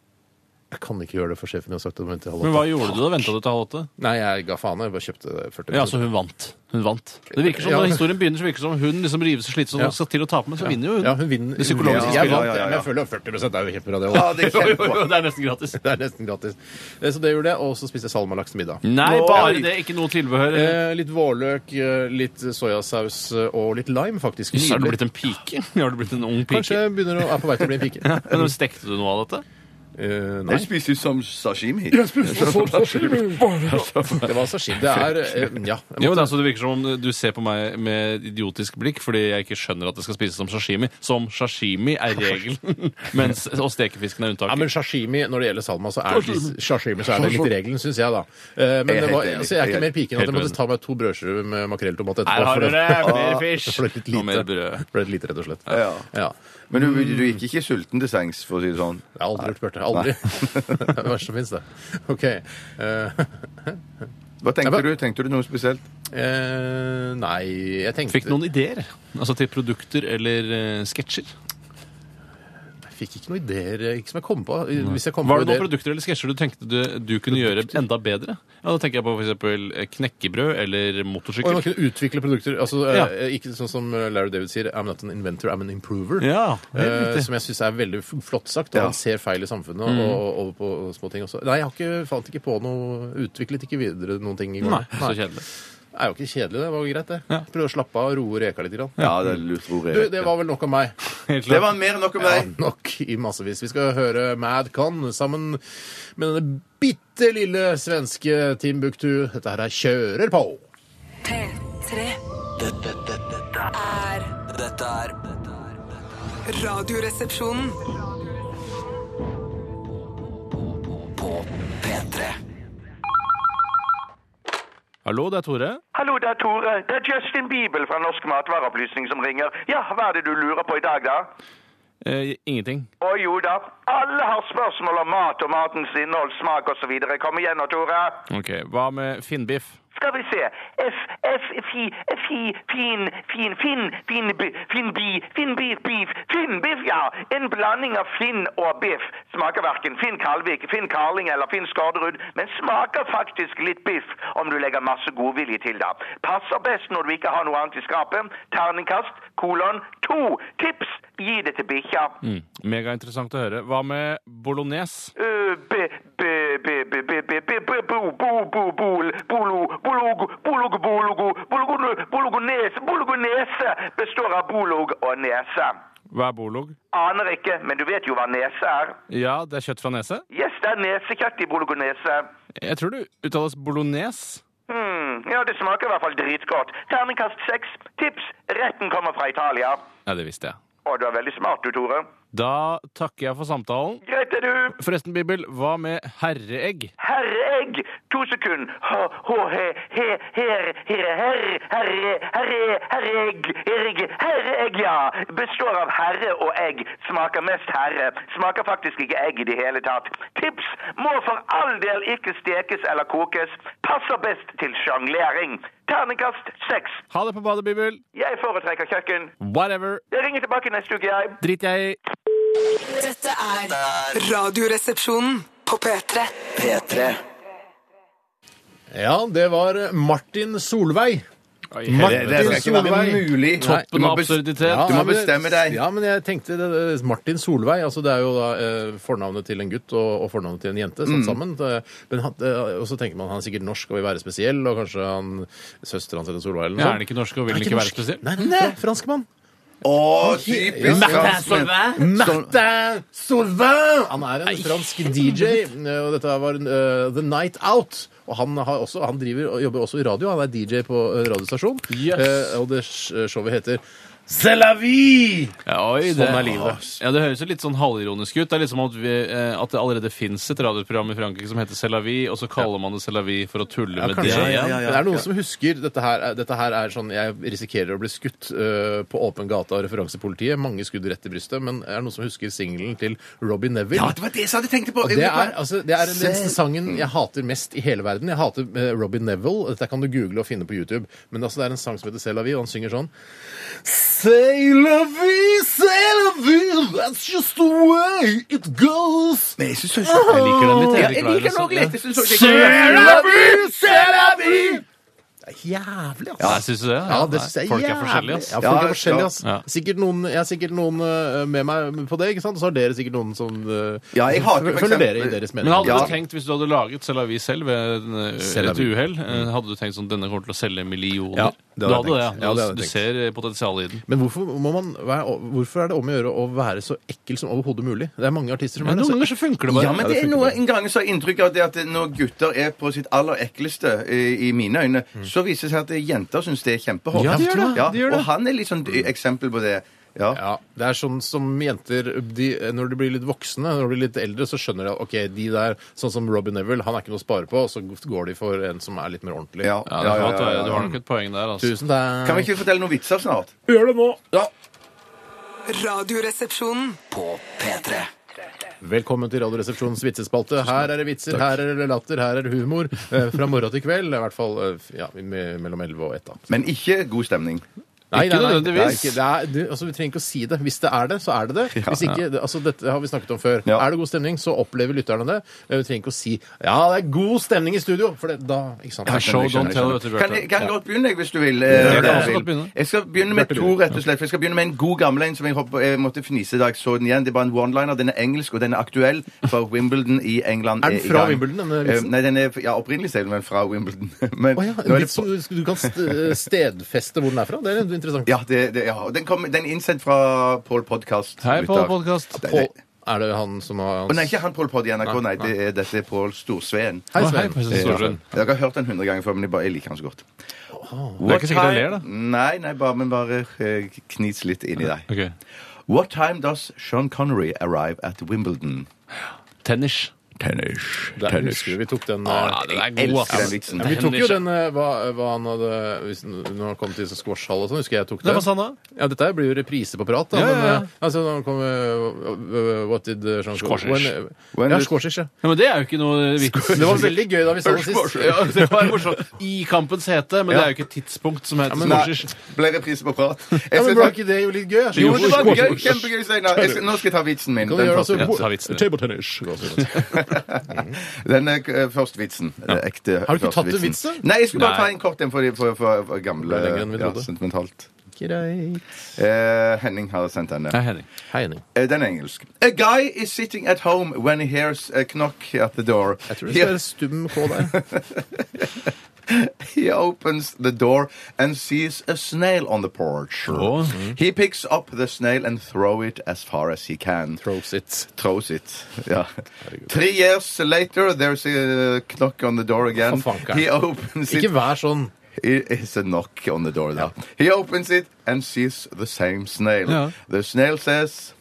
jeg kan ikke gjøre det, for sjefen min har sagt at du må vente til halv åtte. Men hva gjorde du da? Venta du til halv åtte? Nei, jeg ga faen. Jeg bare kjøpte 40 Ja, så hun vant. Hun vant. Det virker som Ja. Når historien begynner, så virker det som hun liksom rives og slites og Ja. skal til å tape, men så vinner jo hun. Ja, hun vinner. Det psykologiske Ja, spillet. Jeg vant, Ja, ja, ja. men jeg føler at 40 er jo helt bra, det Ja, også. det er Jo, jo, kjempebra. jo, det er nesten gratis. Det er nesten gratis. Eh, Så det gjorde jeg, og så spiste jeg salmalaks til middag. Nei, Nå- bare det. Ikke noe tilbehør. Eh, litt vårløk, eh, litt soyasaus eh, og litt lime, faktisk. Jøss, Har du Nydelig. blitt en pike? Har du blitt en ung pike? Kanskje jeg begynner å, er på vei til å bli en pike. Men Stekte du noe av dette? Eh, nei. Jeg spiser ut som sashimi. Det var sashimi. Det er eh, Ja. jeg Jo, måtte- det, er så det virker som om du ser på meg med idiotisk blikk fordi jeg ikke skjønner at det skal spises som sashimi. Som sashimi er regelen, mens å steke fisken er Ja, men unntaket. sashimi, når det gjelder salma, så er det, sashimi, så er det litt regelen, syns jeg, da. Eh, Men Jeg er det var, helt enig. så jeg er ikke mer pike enn at jeg Helt måtte ta meg to brødskiver med makrell og tomat etterpå. Her for har du det! Mer Det fish! ble litt Og mer lite. brød. Det ble litt lite, rett og slett. Ja. Ja. Men du, du gikk ikke sulten til sengs, for å si det sånn? Jeg har aldri gjort bjørte. Aldri. Det er det verste som fins, det. OK. Eh, Hva tenkte Ja, du? Tenkte du noe spesielt? eh, nei, jeg tenkte Fikk noen ideer? Altså til produkter eller eh, sketsjer? Jeg fikk ikke noen ideer eh, ikke som jeg kom på. Hvis jeg kom Var på det noen ideer- produkter eller sketsjer du tenkte du, du kunne gjøre enda bedre? Ja, Da tenker jeg på f.eks. knekkebrød eller Og man motorsykkel. kunne utvikle produkter. altså eh, Ja. Ikke sånn som eh, Larry David sier, I'm not an inventor, I'm an improver. Ja, Eh, helt riktig. Mm. som jeg syns er veldig f- flott sagt. Og Ja. han ser feil i samfunnet og- og over på små ting også. Nei, jeg har ikke, fant ikke på noe Utviklet ikke videre noen ting i går. Nei, så kjedelig. Det er jo ikke kjedelig, det. var jo greit, det. Ja. Prøve å slappe av og roe reka litt. Grann. Ja, det er lurt, tror Du, jeg. det var vel nok om meg. Helt Det klart. var mer enn nok om Ja, deg. nok i massevis. Vi skal høre Mad Con sammen med denne bitte lille svenske Timbuktu. Dette her er Kjører på. P3 Dette, dette, dette, er- er dette er dette er- dette Radioresepsjonen. er På P3 Hallo, det er Tore. Hallo, det er Tore. Det er Justin Bibel fra Norsk Matvareopplysning som ringer. Ja, hva er det du lurer på i dag, da? Eh, ingenting. Å jo da, alle har spørsmål om mat og matens innhold, smak osv. Kom igjen nå, Tore. Ok, Hva med finnbiff? Skal vi se. F, F, fi, fi, fin, fin, finn, finn, bi, finn, bi, finn, bi, beef, finn, biff, ja. En blanding av finn og biff. Smaker hverken Finn Kalvik, Finn Karling eller Finn Skorderud, men smaker faktisk litt biff om du legger masse godvilje til, da. Passer best når du ikke har noe annet i skapet. Terningkast, kolon, to. Tips, gi det til bikkja. Mm. Megainteressant å høre. Hva med bolognese? Øh, be, be, be, be, be, be, be, be, bo, bo, bo, bol, bolo, bolog, bolog, bologo, bologone, bologonese, bologonese består av bolog og nese. Hva er bolog? Aner ikke, men du vet jo hva nese er. Ja, det er kjøtt fra nese. Yes, det er nesekjøtt i bologonese. Jeg tror det uttales bolognese. Hmm, ja, det smaker i hvert fall dritgodt. Terningkast seks. Tips, retten kommer fra Italia. Ja, det visste jeg. Å, du er veldig smart du, Tore. Da takker jeg for samtalen. Greit er du. Forresten, Bibel, hva med herreegg? Herreegg! To sekund. H-h-he-he-her, herre, herre, herre, herreegg, herreegg, herreegg, ja. Består av herre og egg. Smaker mest herre. Smaker faktisk ikke egg i det hele tatt. Tips! Må for all del ikke stekes eller kokes. Passer best til sjonglering. Terningkast seks. Ha det på badet, Bibel. Jeg foretrekker kjøkken. Whatever. Jeg ringer tilbake neste uke, jeg. Drit jeg i. Dette er Radioresepsjonen på P3. P3 Ja, det var Martin Solveig. Det, det skal ikke være mulig. Du Toppen må av bes- absurditet. Du nei, må men- bestemme deg. Ja, men jeg tenkte det, det, Martin Solveig. altså Det er jo da eh, fornavnet til en gutt og, og fornavnet til en jente satt sammen. Eh, Men han, eh, og så tenker man han er sikkert norsk og vil være spesiell, og kanskje han søsteren hans heter Solveig eller Ja, noe er han ikke norsk og vil Er han ikke være norsk? spesiell? Nei, nei, franskmann. Å, typisk! franskmenn. Martin Solveig! Han er en fransk DJ, og dette var eh, The Night Out. Og han, har også, han driver og jobber også i radio. Han er DJ på eh, radiostasjon. Yes. Eh, og det sh- showet heter C'est la vie! Ja, oi, Sånn det, er livet. Ja, det høres jo litt sånn halvironisk ut. Det er litt som at, vi, eh, at det allerede fins et radioprogram i Frankrike som heter C'est la vie, og så kaller man det C'est la vie for å tulle med det kanskje. igjen. Men Det er noen som husker dette her, er- dette her er sånn Jeg risikerer å bli skutt eh, på åpen gate av referansepolitiet. Mange skudd rett i brystet. Men er det noen som husker singelen til Robbie Neville? Ja, det var det jeg hadde tenkt på! Og Det er, altså, det er den sangen jeg hater mest i hele verden. Jeg hater eh, Robbie Neville. Dette kan du google og finne på YouTube. Men altså, det er en sang som heter C'est la vie, og han synger sånn Say la vie, say la vie, that's just the way it goes. Men jeg synes sånn også- Jeg liker den litt. Ja, Erik jeg liker den Lauritzen. også litt. Jeg synes også- C'est la vie, c'est la vie! Det er jævlig, altså. Ja, jeg synes det. Ja, det synes jeg Folk er jævlig. forskjellige, ass. Ja, folk er Ja, forskjellige, ass. ja. Sikkert noen, jeg har sikkert noen eh, med meg på det, ikke sant? Og så har dere sikkert noen som eh, Ja, jeg hater for følger dere i eksempel- deres Men mening. hadde Ja. du tenkt, hvis du hadde laget C'est la vie selv ved en, eh, C'est la et vie. uhell, eh, hadde du tenkt sånn denne kommer til å selge millioner? Ja, det hadde du jeg hadde det, ja. tenkt. Ja, det hadde jeg du tenkt. ser eh, potensialet i den. Men hvorfor, må man være, hvorfor er det om å gjøre å være så ekkel som overhodet mulig? Det er mange artister som Men er altså, det. noen ganger så funker det bare. Ja, men det er noen ganger så har jeg inntrykk av det at når gutter er på sitt aller ekleste, eh, i, i mine øyne, så viser det seg at jenter syns det er kjempehårt. Ja, de gjør det, Ja, de gjør det. Og han er litt sånn et eksempel på det. Ja. Ja, det er sånn som jenter de, Når de blir litt voksne, når de blir litt eldre, så skjønner de at ok, de der, sånn som Robin Neville, han er ikke noe å spare på, og så går de for en som er litt mer ordentlig. Ja. Ja, det er Ja, ja, flott, ja, ja, Du ja. har nok et poeng der, altså. Tusen takk. Kan vi ikke fortelle noen vitser snart? gjøre det nå? Radioresepsjonen. På P3 Velkommen til Radioresepsjonens vitsespalte. Her er det vitser, her er det latter, her er det humor. eh, Fra morgen til kveld. I hvert fall eh, ja, me- mellom 11 og 1. Da. Men ikke god stemning. Nei, Ikke nei, nei, nødvendigvis. Det er, ikke- det er, du, altså, vi trenger ikke å si det. Hvis det er det, så er det det. Hvis ikke, det, altså, Dette har vi snakket om før. Ja. Er det god stemning, så opplever lytterne det. Eh, Vi trenger ikke å si 'ja, det er god stemning i studio', for det, da ikke sant? Ja, show Skjønner, don't skjønner. tell, vet du, Bjarte. Kan jeg kan jeg godt begynne, jeg, hvis du vil? eh, kan Bjarte. også godt begynne. Jeg skal begynne med to, rett og slett. for Jeg skal begynne med en god gammel en som jeg, håper, jeg måtte fnise da jeg så den igjen. Det er bare en one-liner. Den er engelsk, og den er aktuell fra Wimbledon i England. Er den eh, i fra gang. Wimbledon, denne vitsen? Eh, Nei, den er ja, opprinnelig selv, men fra Wimbledon. Men Å ja, nå er en det vits som du, du kan st- eh, stedfeste hvor den er fra? Det er jo interessant. Ja, det, det, ja. Og Den, kom, den er innsendt fra Paul Podcast. Hei, Paul gutter. Podcast. Det- Paul, det- er det han som har Å, Nei, ikke han Paul Pod i NRK, nei. Det er, dette er Paul Storsveen. Hei, Å, Svein. hei, Paul Storsveen. Dere har hørt den hundre ganger før, men jeg, bare, jeg liker han så godt. Det er ikke sikkert jeg ler, da. Nei, nei, bare, men bare eh, knis litt inn i deg. Ok. What time does Sean Connery arrive at Wimbledon? Tennis. Tennis. Der, husker du, vi tok den Ah, eh, den er Jeg god, elsker den ass. vitsen. ja, vi tok jo den eh, hva, hva han hadde hvis, Når han kom til sånn squashhall og sånn, husker jeg jeg tok Nei, den. hva sa han da? Ja, dette her blir jo reprise på prat, da. Ja, ja, ja. Men, eh, altså, når han kom eh, eh, What did eh, Jean Squashish. When, When ja, did- squashish, ja. Ja, men det er jo ikke noe vits. Det var veldig gøy da vi sa det sist. Ja, det var morsomt. I kampens hete, men det er jo ikke et tidspunkt som heter Nei, squashish. ble reprise på prat. Jeg Ja, skal men Var ta- ikke det jo litt gøy? Jeg jo, skjønner det ikke var hvorfor- gøy. Kjempegøy, Steinar. Jeg skal- Nå skal jeg ta vitsen min. Kan du Den gjøre første altså, Ja, hvor- ta vitsen din. table tennis? Den er eh, første vitsen. Den ekte Har du ikke første tatt en vits, da? Nei, jeg skulle bare Nei. ta en kort en for, de- for, for, for gamle Det er lenger enn vi ja, trodde. sentimentalt. Greit. Eh, Henning har sendt denne. Nei, Henning. Hei, Henning. Eh, den er engelsk. A guy is sitting at home when he hears a knock at the door. Jeg tror det He- skal være stum K der. He opens the door and sees a snail on the porch. Oh. He picks up the snail and throw it as far as he can. Throws it. Throws it. Ja. Three years later, there's a knock on the door again. For fanker. He opens it. Ikke vær sånn. It is Oh, a knock on the door there. He opens it and sees the same snail. Yeah. The snail says,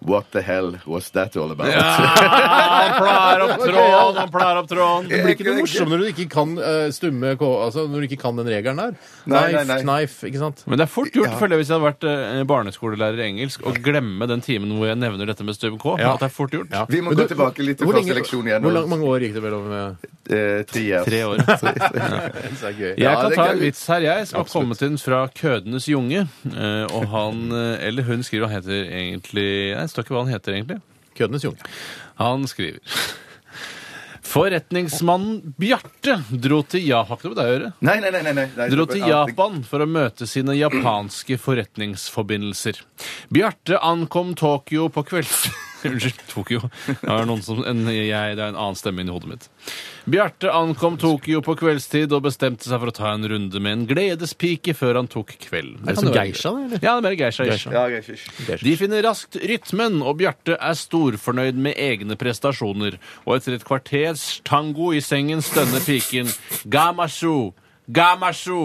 What the hell was that all about? Han pleier opp tråden, han pleier opp tråden. Det blir ikke noe morsomt når du ikke kan eh, stumme K, altså når du ikke kan den regelen der. Nei, Knife, nei, nei. knife, ikke sant? Men det er fort gjort, føler jeg, hvis jeg hadde vært eh, barneskolelærer i engelsk, å glemme den timen hvor jeg nevner dette med Stubben K. Ja. At det er fort gjort. Ja. Vi må Men gå du- tilbake litt til hvor første lenge- leksjon igjen. Hvor lang- mange år gikk det mellom eh, Eh, tre years. Tre år. Det er gøy. Jeg Ja, det kan er ta gøy. en vits her, jeg, som har kommet inn fra Kødenes junge. eh, Og han, eh, eller hun, skriver han heter egentlig Nei, det står ikke hva han heter egentlig. Kødenes junge. Han skriver Forretningsmannen Bjarte dro til Ja, har ikke noe med deg å gjøre. Nei, nei, nei. nei, nei, nei. dro til Ja, det- Japan for å møte sine japanske forretningsforbindelser. Bjarte ankom Tokyo på kvelds... Unnskyld, Tokyo. Det er, noen som, en, jeg, det er en annen stemme inni hodet mitt. Bjarte ankom Tokyo på kveldstid og bestemte seg for å ta en runde med en gledespike før han tok kvelden. Er det Kan som være geisha, gøy. det, eller? Ja, det er mer geisha-ish. Ja, jeg er ikke- De finner raskt rytmen, og Bjarte er storfornøyd med egne prestasjoner. Og etter et kvarters tango i sengen stønner piken Gamashu! Gamashu!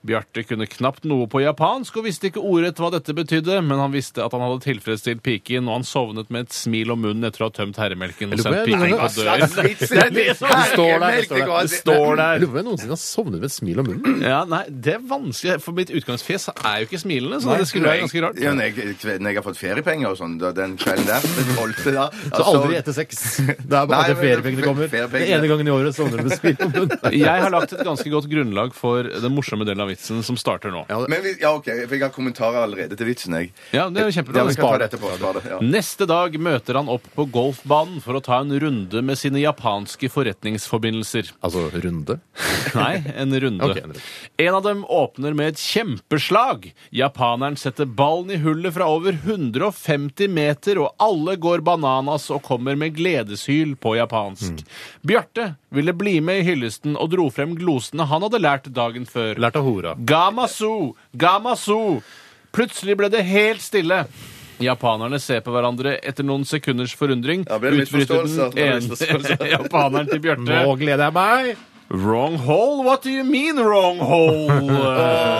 Bjarte kunne knapt noe på japansk og visste ikke ordrett hva dette betydde, men han visste at han hadde tilfredsstilt piken, og han sovnet med et smil om munnen etter å ha tømt herremelken og lurer på sendt om jeg piken noen på gang- døren. Det er det som- Det står der. Det Herremelk, står der. går- Det står der. Jeg lurer på om jeg noensinne har sovnet med et smil om munnen. Ja, nei, det er vanskelig, for mitt utgangsfjes er jo ikke smilende, så det skulle være ganske rart. Ja, når jeg, når jeg har fått feriepenger og sånn, da- den kvelden der, den tolvte da Så aldri etter sex. Det er bare Altså- Nei, at men- feriepengene kommer. feriepengene. Den ene gangen i året sovner du med smil om munnen. Jeg har lagt et ganske godt grunnlag for den morsomme delen av vitsen som starter nå. Men vi, ja, OK, for jeg har kommentarer allerede til vitsen, jeg. Ja, det er jo kjempebra. Ja, vi skal ta Spar det det. etterpå. Spar det. Ja. Neste dag møter han opp på golfbanen for å ta en runde med sine japanske forretningsforbindelser. Altså runde. Nei, en runde. Ok, en runde. En av dem åpner med et kjempeslag. Japaneren setter ballen i hullet fra over 150 meter, og alle går bananas og kommer med gledeshyl på Mm. japansk. Bjarte ville bli med i hyllesten og dro frem glosene han hadde lært dagen før. Lært av hora. Gamasu! Gamasu! Plutselig ble det helt stille. Japanerne ser på hverandre etter noen sekunders forundring. Ja, ble det misforståelser? Ble det ene misforståelser? japaneren til Bjarte. Nå gleder jeg meg! Wrong hole? What do you mean wrong hole? Eh,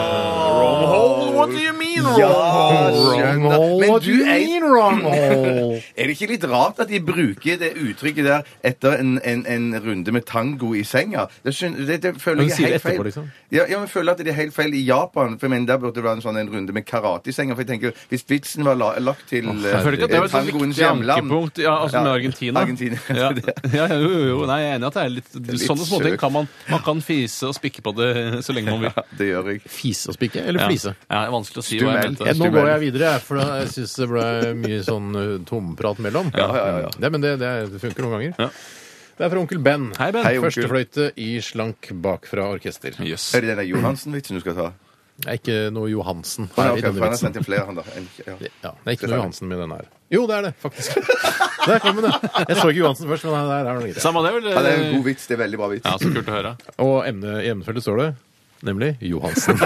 wrong hole? What do you mean wrong hole? Ah, skjønner. Men What do du you er- mean wrong hole? Er det ikke litt rart at de bruker det uttrykket der etter en, en, en runde med tango i senga? Det, skjøn- det, det føler Men jeg sier er det helt feil. etterpå, liksom? Ja, ja, men jeg føler at det er helt feil i Japan. For jeg mener, Der burde det være en sånn en runde med karate i senga. For jeg tenker, Hvis vitsen var la, lagt til Jeg føler ikke at det eh, var et sånt tangoens viktig hjemland ankepunkt ja, altså Ja, med Argentina. Argentina. Ja. Ja, jo, jo, jo. Nei, jeg er enig i at det er litt, litt Sånne småting søkt. kan man, man kan fise og spikke på det så lenge man vil. Det gjør jeg. Fise og spikke? Eller flise? Ja, det er vanskelig å si hva jeg Stumel. mente. Ja, nå Stumel. går jeg videre, for da- jeg syns det ble mye sånn uh, tomprat mellom. Ja, ja, ja, ja. Nei, men det, det, er- det funker noen ganger. Ja. Det er fra onkel Ben. Hei, Ben. Hei, onkel. Førstefløyte i slank bakfra orkester. Det Yes. Er det denne Johansen-vitsen du skal ta? er ikke noe Johansen Å, her ja, ok, i for denne han har vitsen. sendt inn flere, han da. En, ja. Ja, det er ikke noe Johansen med den her. Jo, det er det, faktisk. Der kom den, ja. Jeg så ikke Johansen først, men der er den greit. Samme det, vel? ja, det er en god vits. Det er veldig bra vits. Ja, så kult å høre. Og emne, i emnefeltet står det nemlig Johansen.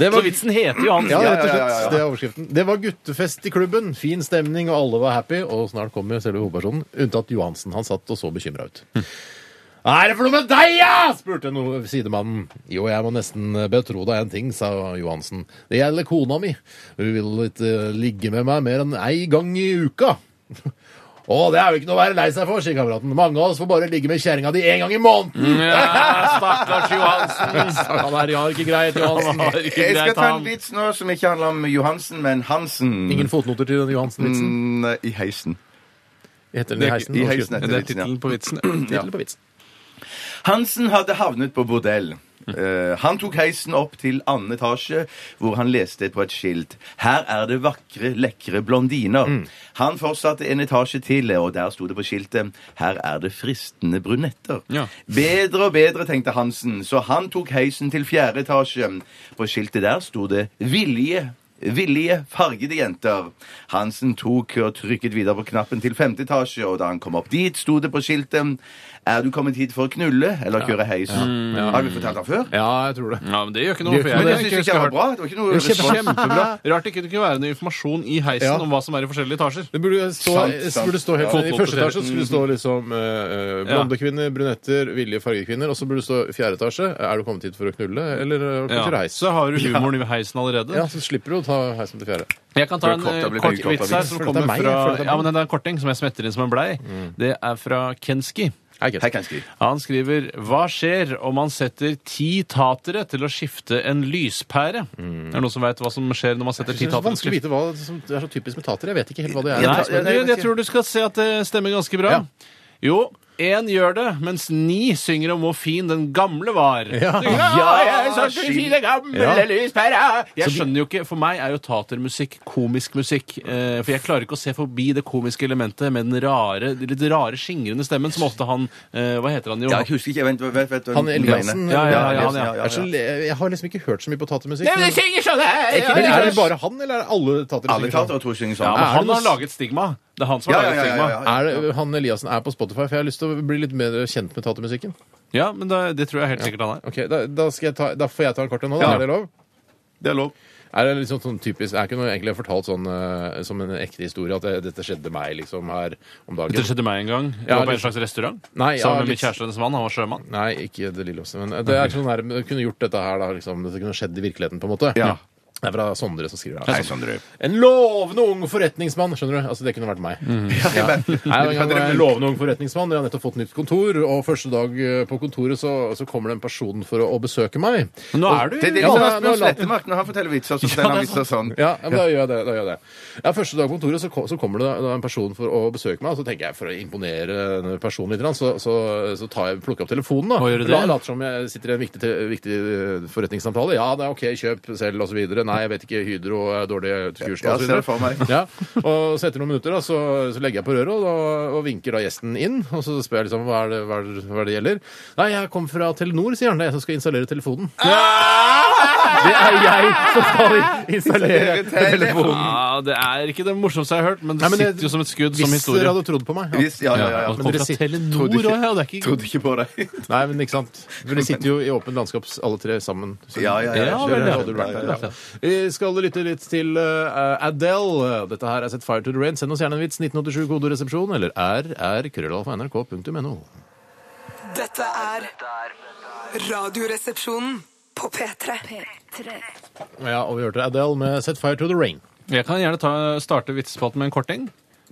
Så vitsen heter Johansen. Ja, Ja, rett og ja, ja, slett. ja, ja. Det er overskriften. Det var guttefest i klubben. Fin stemning, og alle var happy. Og snart kommer selve hovedpersonen, unntatt Johansen. Han satt og så bekymra ut. Hm. Hva er det for noe med deg, ja? spurte no sidemannen. Jo, jeg må nesten eh, betro deg en ting, sa Johansen. Det gjelder eh, kona mi. Hun vil ikke ligge med meg mer enn ei gang i uka. Å, det er jo ikke noe å være lei seg for, sier kameraten. Mange av oss får bare ligge med kjerringa di én gang i Mm. måneden. Ja, stakkars Johansen. Han er ja, ikke greit, Johansen. Det er ikke Jeg skal greit, ta en han. vits nå som ikke handler om Johansen, men Hansen. Ingen fotnoter til den Johansen-vitsen. Mm, nei, I heisen. Heter den i heisen? I Norsk heisen heter gutten. Det er vitsen, ja. tittelen på vitsen. Tittel på vitsen. Hansen hadde havnet på bordell. Eh, han tok heisen opp til annen etasje, hvor han leste på et skilt 'Her er det vakre, lekre blondiner'. Han fortsatte en etasje til, og der sto det på skiltet 'Her er det fristende brunetter'. Ja. Bedre og bedre, tenkte Hansen, så han tok heisen til fjerde etasje. På skiltet der sto det 'Vilje'. Villige, fargede jenter. Hansen tok og trykket videre på knappen til femte etasje, og da han kom opp dit, sto det på skiltet 'Er du kommet hit for å knulle eller kjøre heis?' Har vi fortalt det før? Ja, jeg tror det. Ja, men det gjør ikke noe. for Ja, jeg Men jeg det har syns ikke ikke det var hørt. bra. Det var ikke noe Det er respons. Kjempebra. Rart ikke det kunne være noe informasjon i heisen Ja. om hva som er i forskjellige etasjer. Det burde stå, Sant, sant. Burde stå helt, Ja. I første etasje skulle det stå liksom eh, eh, blonde kvinner, brunetter, villige fargekvinner. Og så burde det stå fjerde etasje. Er du kommet hit for å knulle, eller eh, Ja. kanskje reis? Så har du humoren i heisen allerede. Ja, så slipper du å ta heisen til fjerde. Jeg kan ta en Føler eh, korta blir kort veldig korta, vits her Vits. Føler som det kommer er meg, jeg. fra Føler det er Ja, meg. Mm. men det er en korting som jeg smetter inn som en blei. Det er fra Kenski. Hei, Kent. Hei, Kanski. Han skriver Hva skjer om man setter ti tatere til å skifte en lyspære? Er det noen som veit hva som skjer når man setter Mm. Jeg synes Det er ti så tatere? vanskelig å til å skifte- vite hva som det er så typisk med tatere. Jeg vet ikke helt hva det er. Nei, Ja, men jeg, jeg tror du skal se at det stemmer ganske bra. Ja. Jo, én gjør det, mens ni synger om hvor fin den gamle var. Ja. jeg, er så fin, gammel, Ja. lyspære. jeg skjønner jo ikke For meg er jo tatermusikk komisk musikk. eh, For jeg klarer ikke å se forbi det komiske elementet med den rare, litt rare skingrende stemmen som ofte han eh, Hva heter han jo? Ja, jeg husker ikke. Vent, vent, vent, vent, Han du Eliassen, mener. ja, ja, ja, han, ja. Eliassen, Jeg er så le- Jeg har liksom ikke hørt så mye på tatermusikk. Nei, men Men synger sånn her! ja, men ja. er det bare han, eller er det alle tatere? Alle som synger tatere tror jeg synger Ja, sånn. men Er det han noe- har laget stigma. Det er han som har Ja, ja, laget ja, stigma. ja, ja. sånn? Er det, han Eliassen er på Spotify, for jeg har lyst til å bli litt mer kjent med tatermusikken. Ja, men det, det tror jeg helt sikkert han er. Ok, da, da, skal jeg ta, da får jeg ta en kort en nå, da. Ja. Er det lov? Det er lov. Er det liksom sånn typisk, er ikke noe egentlig fortalt sånn eh, som en ekte historie at eh, dette skjedde meg liksom her om dagen? Det skjedde meg en gang. Jeg Ja, var på litt- en slags restaurant Nei, ja, sammen med min litt- kjæreste og hennes mann. Han var sjømann. Nei, ikke det lille også, men eh, det er sånn her, men jeg kunne gjort dette her da, liksom, det kunne skjedd i virkeligheten på en måte. Ja. Det er fra Sondre som skriver Hei, her. Sondre. En lovende ung forretningsmann, skjønner du? Altså, det kunne vært meg. Mhm. Ja, men- Nei, det var en gang hvor jeg er lovende ung forretningsmann. Jeg har nettopp fått nytt kontor, og første dag eh, på kontoret så, så kommer det en person for å, å besøke meg. Men nå er du Det er det Ja, som nå- er Asbjørn nå la- Slettemark når han forteller vitser. Så forteller han vitser sånn. Ja, men da gjør jeg det. Da gjør jeg det. Ja, første dag på kontoret så, ko- så kommer det da en person for å besøke meg. Og så tenker jeg, for å imponere denne personen litt, så, så, så tar jeg, plukker jeg opp telefonen. da. Hva gjør du det? La- Later som jeg sitter i en viktig, te- viktig eh, forretningssamtale. Ja, det er OK, kjøp selv, osv. Nei, jeg vet ikke, Hydro er dårlig kurs Ja, og så ser det videre. for meg. Ja, og så etter noen minutter da, så, så legger jeg på røret og, da- og vinker da gjesten inn. Og så spør jeg liksom hva er det, hva er det, hva er det gjelder. Nei, jeg kom fra Telenor, sier han. Det er jeg som skal installere telefonen. Det er jeg som skal installere telefonen. ja, Det er ikke det morsomste jeg har hørt, men det Nei, men det- sitter jo som et skudd som Hvis dere historie. hadde trodd på meg. ja. Hvis- Ja, ja, ja. ja. Og det men kom dere fra sitter- Telenor trodde ikke- også, ja. Det er ikke Trodde ikke på deg. Nei, men ikke sant. For dere sitter jo i åpent landskap alle tre sammen. Så- Ja, ja, ja. Ja, Kjører en vel, ja. radio Ja, ja, rant ja. her, ja. Vi skal lytte litt til eh, Adele. Dette her er Set Fire to the Rain. Send oss gjerne en vits. 1987 kodoresepsjon eller rr.krøllalfa.nrk.no. Dette er Radioresepsjonen på P3. Ja, og vi hørte Adele med Set Fire to the Rain. Jeg kan gjerne ta, starte vitsespalten med en korting.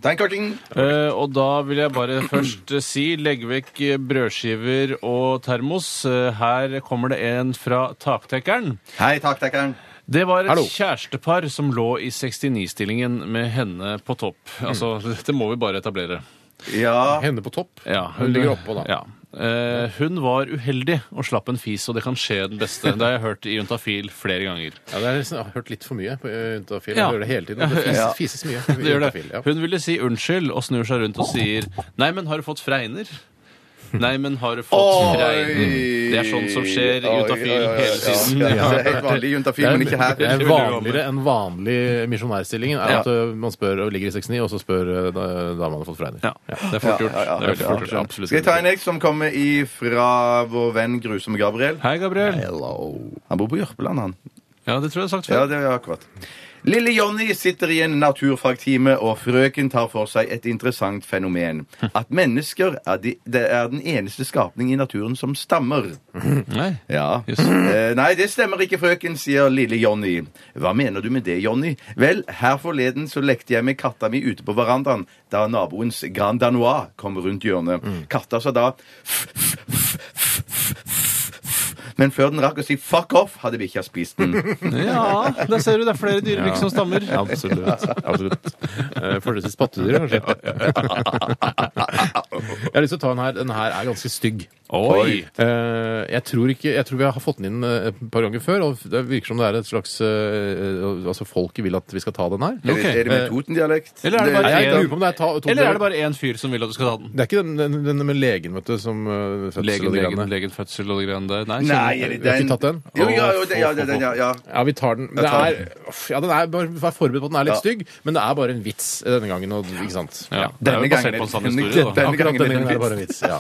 Ta en korting. Eh, og da vil jeg bare først eh, si legg vekk eh, brødskiver og termos. Eh, her kommer det en fra taktekkeren. Hei, taktekkeren. Det var et Hallo. kjærestepar som lå i 69-stillingen med henne på topp. Altså, dette må vi bare etablere. Ja. Henne på topp. Ja, hun ligger oppå, da. Ja. Eh, hun var uheldig og slapp en fis, og det kan skje den beste. Det har jeg hørt i Juntafil flere ganger. Ja, det er, liksom- jeg har hørt litt for mye på eh, Juntafil. Ja. Jeg hører det hele tiden. Det Ja. fises, fises mye. på Det gjør det. Juntafil, ja. Hun ville si unnskyld og snur seg rundt og sier Nei, men har du fått fregner? Nei, men har du fått fregner? Det er sånn som skjer i Oi, Juntafil oi, oi, hele tiden. Ja, ja, det er helt vanlig i Juntafil, men ikke Det er her. vanligere enn vanlig misjonærstillingen. Er Ja. at ø, man spør og ligger i 69, og så spør ø, da da man har fått fregner. Ja, det er fort gjort. Ja, ja, ja. Det er veldig Ja, fort gjort. ja. Absolutt. Skal jeg ta en jeg som kommer ifra vår venn grusomme Gabriel? Hei, Gabriel. Hello. Han bor på Jørpeland, han. Ja, det tror jeg jeg har sagt Ja, før. det er akkurat. Lille Jonny sitter i en naturfagtime, og frøken tar for seg et interessant fenomen. At mennesker er, de, det er den eneste skapning i naturen som stammer. Nei. Ja. Yes. Eh, nei, det stemmer ikke, frøken, sier lille Jonny. Hva mener du med det, Jonny? Vel, her forleden så lekte jeg med katta mi ute på verandaen da naboens Grand Danois kom rundt hjørnet. Katta sa da Men før den rakk å si 'fuck off', hadde bikkja spist den. Ja, der ser du det er flere dyrebygg som stammer. Ja, absolutt. absolutt. Eh, Forholdsvis pattedyr, kanskje. Jeg har lyst til å ta en her. Den her er ganske stygg. Oi. Eh, Jeg tror, ikke, jeg tror vi har fått den inn eh, et par ganger før, og det virker som det er et slags eh, Altså, folket vil at vi skal ta den her. Er det- Er det med Toten-dialekt? Eller er det Nei, bare jeg en- lurer på om det er ta, to, Eller er det bare én fyr som vil at du skal ta den? Det er ikke den, den, den med legen, vet du, som eh, fødsel Legen, og de legen, greiene. legen, fødsel og de greiene der. Nei, Nei, skjønner. er det Vi har ikke tatt den? Jo, ja, jo, det, ja, det, den, ja, ja. Ja, vi tar den. Men Det tar er, uff, ja, den er bare, Vær forberedt på at den er Ja. litt stygg, men det er bare en vits denne gangen. Og, ikke sant? Ja. Det er Denne jo basert gangen- på en sann denne- historie, da. denne Akkurat gangen denne er gangen er det det bare en vits. Ja.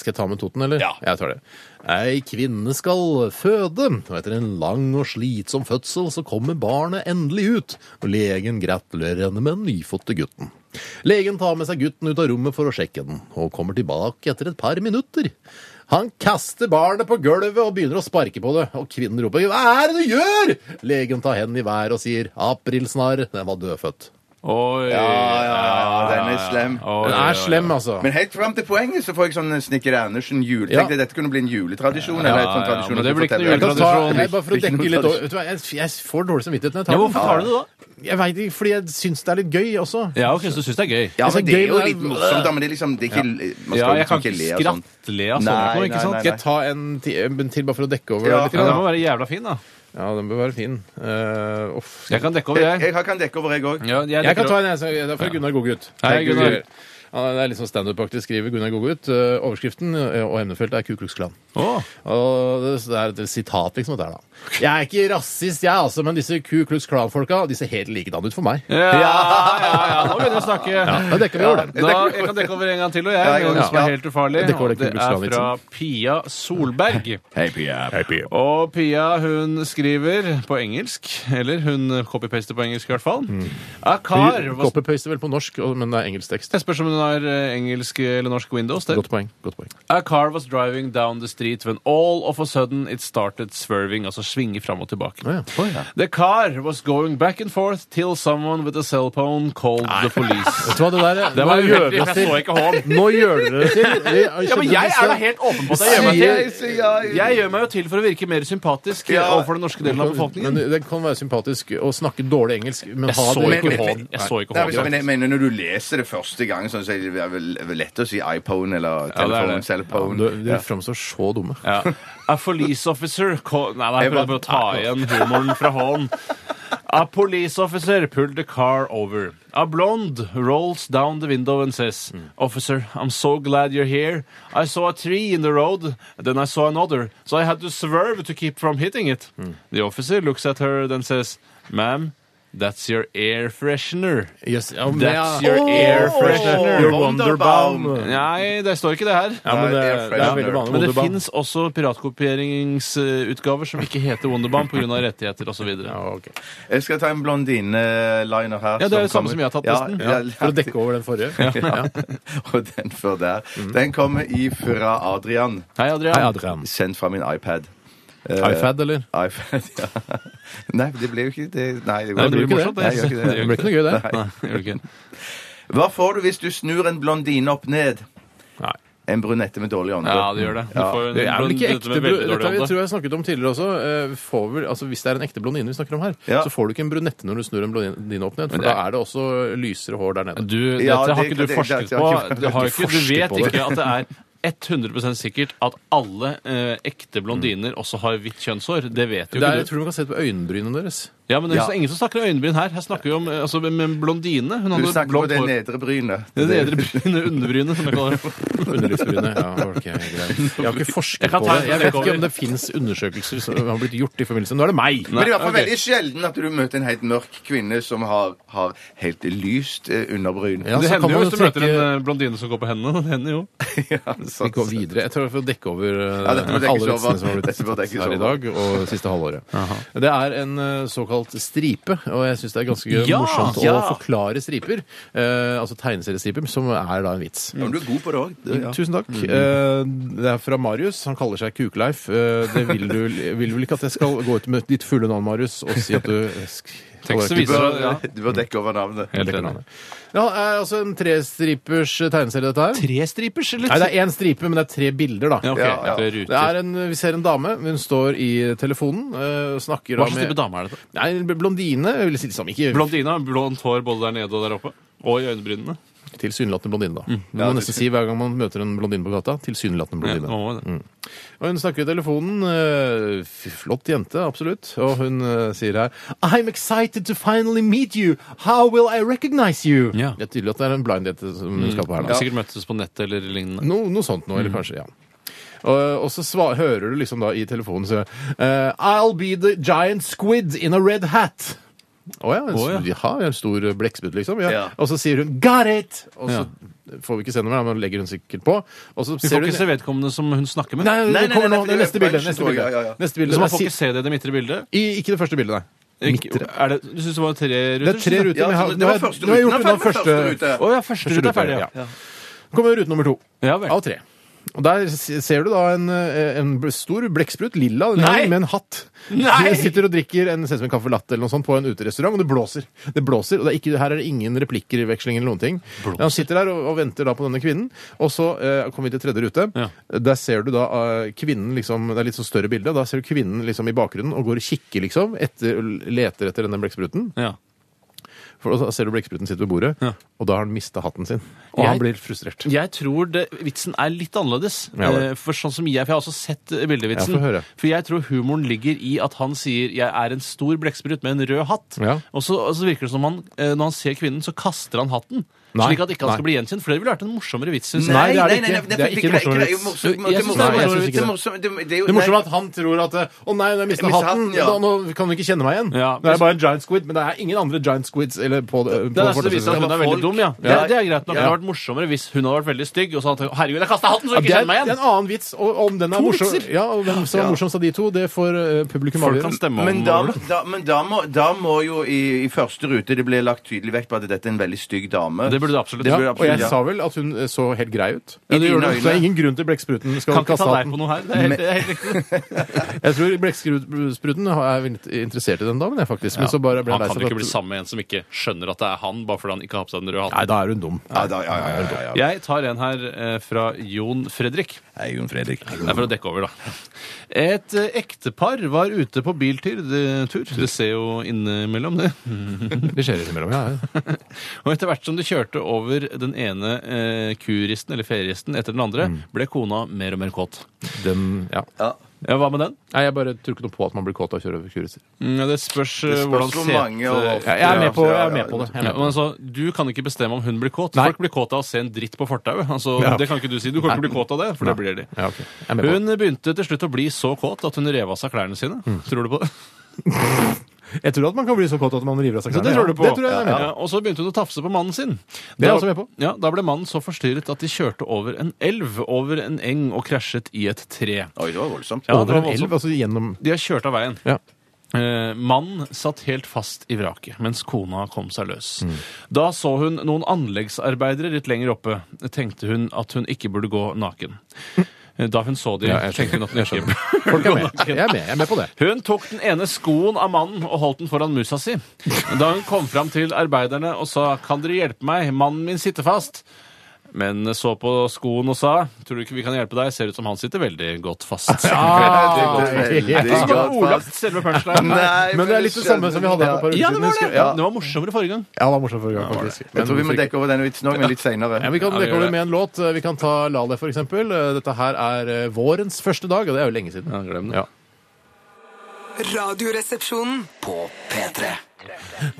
Skal jeg ta med Toten, eller? Ja. Jeg tar det. Ei kvinne skal føde, og etter en lang og slitsom fødsel så kommer barnet endelig ut, og legen gratulerer henne med den nyfødte gutten. Legen tar med seg gutten ut av rommet for å sjekke den, og kommer tilbake etter et par minutter. Han kaster barnet på gulvet og begynner å sparke på det, og kvinnen roper 'Hva er det du gjør?' Legen tar hendene i været og sier 'Aprilsnarr, den var dødfødt'. Oi. Ja, ja, ja, den er slem. Oi, Den oi, oi. er slem, altså. Men helt fram til poenget så får jeg sånn Snikker Andersen-jul. Ja. Tenkte jeg dette kunne bli en juletradisjon. eller et sånt ja, ja, tradisjon men at du det blir ikke noe forteller. Jeg kan ta, Tradisjon. jeg, bare for å Ikke noe dekke litt over tradisjon. Vet du hva, jeg, jeg får dårlig samvittighet når jeg Ja, tar den. hvorfor tar du det da? Jeg veit ikke, fordi jeg syns det er litt gøy også. Ja, ok, så du syns det er gøy. Ja, Jeg men synes det er jo gøy, men det er- litt morsomt, da, men det er liksom det er ikke, Man skal Ja, jeg liksom kan ikke ikke le av sånn. skrattle Nei, av sånne, ikke sånn. nei, sant? nei, Skal jeg ta en, ti- en til bare for å dekke over? Ja. litt Ja, den grann, må være jævla fin, da. da? ja, den bør være fin. Eh, uff. Jeg kan dekke over, Jeg, jeg. jeg kan dekke over, jeg òg. Ja, Jeg kan ta en, jeg. så- Det er fra Gunnar Godgutt. Hei, Det er Gunnar. Gunnar. Ja, det er litt sånn standup-aktig, skriver Gunnar Godgutt. Eh, Overskriften eh, og emnefeltet er Ku Klux Klan. Å. Og det det er et sitat, liksom. Det er, da. Jeg er ikke rasist, jeg, altså, men disse Ku Klux Klan-folka de ser helt likedan ut for meg. Ja, ja, ja. Nå begynner vi å snakke. Da dekker vi over den. Da, jeg kan dekke over en gang til, og jeg. Ja, jeg kan noe som også. er helt ufarlig. Jeg dekker over og Det den er fra Kugelskranvitsen. Pia Solberg. Hei, Pia. Og Pia hun skriver på engelsk, eller hun copypaster på engelsk i hvert fall. Mm. Er kar Du hva- Copypaster vel på norsk, og- men det er engelsk tekst. Jeg spørs om hun har eh, engelsk eller norsk Windows. Det. Godt poeng. godt poeng. A car was driving down the street when all of a sudden it started swerving, altså svinge fram og tilbake. Å, ja. The car was going back and forth till someone with a cell phone called the police. Vet du hva det der Det Nå var gjør dere uheldig, for oss jeg så til ikke hånd. Nå gjør dere det til Vi- Ja, men jeg er da helt åpen på at jeg gjør meg til. Jeg gjør meg jo til for å virke mer sympatisk eh, Ja. overfor den norske delen av Men befolkningen. den kan være sympatisk å snakke dårlig engelsk, men Jeg ha så det ikke men- hånd. Jeg så ikke Nei, men, så- men hånd. jeg mener Når du leser det første gang, sånn, så er det vel, vel lett å si iPhone eller Ja, det er telefon. det. cellphone. Du, du framstår så dumme. Ja. A police officer co- Nei, nei, jeg prøvde bare å ta igjen humoren fra hånden. A police officer pulled the car over. A blonde rolls down the window and says, Officer, I'm so glad you're here. I saw a tree in the road, then I saw another, so I had to swerve to keep from hitting it. The officer looks at her, then says, Ma'am, that's your air freshener. Yes, ja, men- That's ja. your air Åh, freshener. Your Wonderbaum. wonderbaum. Nei, det står ikke det her. Ja, men det, Air det er veldig freshener. vanlig Men det Wonderbaum. fins også piratkopieringsutgaver som ikke heter Wonderbaum pga. rettigheter osv. Ja, Ja, ok. Jeg skal ta en blondine-liner her. det er som kommer- det samme som jeg har tatt, Ja, nesten. ja, For å dekke over den forrige. Ja. Og den før der. Den kommer ifra Adrian, Hei, Adrian. Hei, Adrian. sendt fra min iPad. iPad, eller? iPad, ja. Nei, det ble jo ikke det. Nei, det, Nei, det blir går jo ikke Nei, det gjør ikke Det det. Det ble ikke noe gøy, det. Nei, det gjør det ikke. Hva får du hvis du snur en blondine opp ned? Nei. En brunette med dårlig ånde. Ja, det gjør det. Du får en Det er vel ikke blond- ekte med bru- veldig Dette har dårlig vi- ånde. tror jeg jeg snakket om tidligere også. Eh, Får vel, altså hvis det er en ekte blondine vi snakker om her, Ja. så får du ikke en brunette når du snur en blondine opp ned, for det er- da er det også lysere hår der nede. Du, Ja, dette har det- ikke det- du det- forsket det- på. det- Du, har ikke, du forsket vet på det. ikke at det er 100 sikkert at alle eh, ekte blondiner også har hvitt kjønnshår. Det vet jo Det er, ikke jeg du. tror du kan se det på øyenbrynene deres. Ja, men det er Ja. ingen som snakker om øyenbryn her. Her snakker vi om eh, altså, med en blondine. Hun Du hadde snakker om blondt det hår. nedre brynet. Det nedre brynet, underbrynet, som jeg kaller det. Underlivsbrynet. Ja, ok, greit. Jeg har ikke forsket Jeg kan på ta det. en Jeg vet over. ikke om det fins undersøkelser som har blitt gjort i forbindelse med Nå er det meg! Men det er i hvert fall ok. veldig sjelden at du møter en helt mørk kvinne som har, har helt lyst eh, underbryn. Ja, det så kan man hender jo hvis du møter en trekke- eh, blondine som går på hendene. Det hender jo. Vi går videre. Jeg tror jeg får dekke over eh, Ja, dette må dekkes alle vitsene over. som har blitt Dette må tatt dekkes her over. i dag og siste halvåret. Det er en eh, såkalt stripe, og jeg syns det er ganske Ja, morsomt å ja. forklare striper. eh, altså tegneseriestriper, som er da en vits. Mm, Ja, Mm. men du er god på det òg. Tusen takk. Eh, det er fra Marius. Han kaller seg Kukleif. Eh, det vil du vil du vel ikke at jeg skal gå ut med ditt fulle navn, Marius, og si at du Tekst kaller deg viser Du, bør- Ja. du bør dekke over navnet. Helt Kukleif. enig. Ja, er altså en trestripers tegneserie, dette her. Trestripers, eller? Nei, det er én stripe, men det er tre bilder, da. Ja, ok. Ja, ja. Tre Det ruter. er en, vi ser en dame. Hun står i telefonen eh, og snakker Hva da slags med- type dame er dette? Nei, en blondine. Jeg vil si liksom ikke Blondine har blondt hår både der nede og der oppe. Og i øyenbrynene. tilsynelatende blondine, Mm, da. Det må man nesten si hver gang man møter en blondine på gata. Tilsynelatende Ja, blondine. og- mm. Og hun snakker i telefonen. eh, f- Flott jente, absolutt. Og hun eh, sier her I'm excited to finally meet you. How will I recognize you? Ja. Det er tydelig at det er en blind date som hun skal på her. Har da. Sikkert møttes på nettet eller lignende. No, noe sånt noe, eller kanskje, ja. Og, og så sva- hører du liksom da i telefonen så eh, I'll be the giant squid in a red hat. Å ja. En, Å, ja. ja, en stor blekkspytt, liksom. Ja. Ja. Og så sier hun 'got it'! Og så Ja. får vi ikke se noe mer, men legger hun sikkert på. Og så Vi ser får du ikke se vedkommende som hun snakker med. Nei, nei, Nei, nei, nei, nei, nå, nei, det er neste bilde. punchen, Neste tror jeg, bilde. ja, ja, ja. Neste bilde. Så man Det er får ikke si- se det i det midtre bildet? i, ikke det første bildet, nei. Ikke, Midtre. er det, du syns det var tre ruter? Det er tre ruter. Ja, men jeg har- det nå har var jeg- første nå har jeg ruten. gjort Nei, unna første, første rute. Å ja, første rute er ferdig. Ja. Så kommer rute nummer to. Ja vel. Av tre. Og Der se- ser du da en, eh, en stor blekksprut, lilla, Nei! med en hatt. Nei! Hun sitter og drikker en, ser ut som en caffè latte eller noe sånt på en uterestaurant, og det blåser. Det blåser, og det er ikke, Her er det ingen replikker i veksling eller noen ting. Han sitter der og, og venter da på denne kvinnen, og så eh, kommer vi til tredje rute. Ja. Der ser du da eh, kvinnen liksom, Det er litt sånn større bilde. Da ser du kvinnen liksom i bakgrunnen og går og kikker, liksom, etter, leter etter denne blekkspruten. Ja. For da ser du blekkspruten sitter ved bordet, Ja. og da har han mista hatten sin. Og Jeg- han blir frustrert. Jeg tror det, vitsen er litt annerledes. Ja, vel. Eh, for sånn som jeg, for jeg har også sett eh, bildevitsen. Ja, få høre. for jeg tror humoren ligger i at han sier 'jeg er en stor blekksprut med en rød hatt'. Ja. Og, så, og så virker det som han, eh, når han ser kvinnen, så kaster han hatten. Nei, Slik at ikke han skal nei. bli gjenkjent. For det ville vært en morsommere vits. Synes Nei, jeg. det er nei, det ikke. nei, Det er for ikke greier- morsommere greier jo vits. morsomt- Jeg synes morsomt- det er morsomt- morsomt. det er morsomt- det- det er jo- Det morsomme nei. er at han tror at eh, Å nei, jeg mista Jeg mistet hatten. hatten, ja. da, nå kan du ikke kjenne meg igjen. Ja, det men- er bare en giant squid, men det er ingen andre giant squids eller på, det- Det på er nesten det viser at fortsettelsen. hun er veldig folk. dum, ja. Det, Ja. det er greit nok. Det hadde Ja. vært morsommere hvis hun hadde vært veldig stygg og så hadde han tenkt 'herregud, jeg kasta hatten, så Ja, du ikke det er kjenner meg en igjen'. annen vits, og om den er To morsom vitser. Ja, og hvem som er Ja. morsomst av de to, det får eh, publikum Folk avgjøre. kan stemme Men om da, det. da, men da, må, da må jo i, i første rute det bli lagt tydelig vekt på at dette er en veldig stygg dame. Det burde du absolutt Ja, gjøre. og jeg ja. sa vel at hun eh, så helt grei ut. I Så dine det er øyne. ingen grunn til blekkspruten skal Kan ikke kaste ta deg hatten. på noe her. Det er helt, det er helt riktig. Jeg tror blekkspruten er litt interessert i den damen, jeg faktisk. Men så bare ble jeg han lei kan seg jo ikke for bli at- sammen med en som ikke skjønner at det er han, bare fordi han ikke har på seg den Nei, røde hatten. da er hun dum. Ja, da, ja, ja, ja, ja, ja. Jeg tar en her eh, fra Jon Fredrik. Hei, Jon Fredrik. Det er for å dekke over, da. Et eh, ektepar var ute på biltur. Det, tur. det ser jo innimellom, det. Det skjer innimellom, ja. ja. Og etter hvert som de kjørte over den ene eh, kuristen, eller feriesten, etter den andre, Mm. ble kona mer og mer kåt. Den, ja. Ja, Hva med den? Nei, jeg bare tror ikke noe på at man blir kåt av å kjøre kuriser. Mm, ja, det spørs, eh, Det hvordan spørs hvor set- mange og hvor ofte. Jeg er med på, jeg er Ja, med på det. Jeg er Ja, med på men det. altså, du kan ikke bestemme om hun blir kåt. Nei. Folk blir kåt av å se en dritt på fortauet. Altså, Ja. Det kan ikke du si. Du kan ikke bli kåt av det, for det blir de. Ja, ok. Jeg er med på det. Hun begynte til slutt å bli så kåt at hun rev av seg klærne sine. Mm. Tror du på det? Jeg tror at man kan bli så kåt at man river av seg Så det klærne, tror ja. du på? Det tror jeg jeg er med på. Ja, og så begynte hun å tafse på mannen sin. Det er Da- jeg også med på. Ja, Da ble mannen så forstyrret at de kjørte over en elv, over en eng og krasjet i et tre. Oi, det var voldsomt. Ja, det Over var en elv, voldsomt. altså gjennom De har kjørt av veien. Ja. Eh, Mannen satt helt fast i vraket mens kona kom seg løs. Mm. Da så hun noen anleggsarbeidere litt lenger oppe. Tenkte hun at hun ikke burde gå naken. Eh, Da hun så de, Ja, jeg tenkte hun at hun ikke Folk er burde gå med. naken. Jeg er med, jeg er med på det. Hun tok den ene skoen av mannen og holdt den foran musa si. Da hun kom fram til arbeiderne og sa 'Kan dere hjelpe meg? Mannen min sitter fast'. Men så på skoen og sa 'Tror du ikke vi kan hjelpe deg? Ser ut som han sitter veldig godt fast'. det er Ja. veldig Det var godt ordlagt selve punchlinen. Nei, Men det er litt det samme som vi hadde her for et par Ja, uker det siden. var husker det! jeg. Ja, Ja, det var morsommere forrige gang. Ja, det var morsomt forrige gang, faktisk. Jeg tror vi må Men- dekke over denne vitsen òg, men litt seinere. Ja, vi kan Ja, vi dekke gjør over det. med en låt. Vi kan ta Lale, for eksempel. Dette her er eh, vårens første dag, og det er jo lenge siden. Ja, glem det. Ja. Radioresepsjonen. På P3.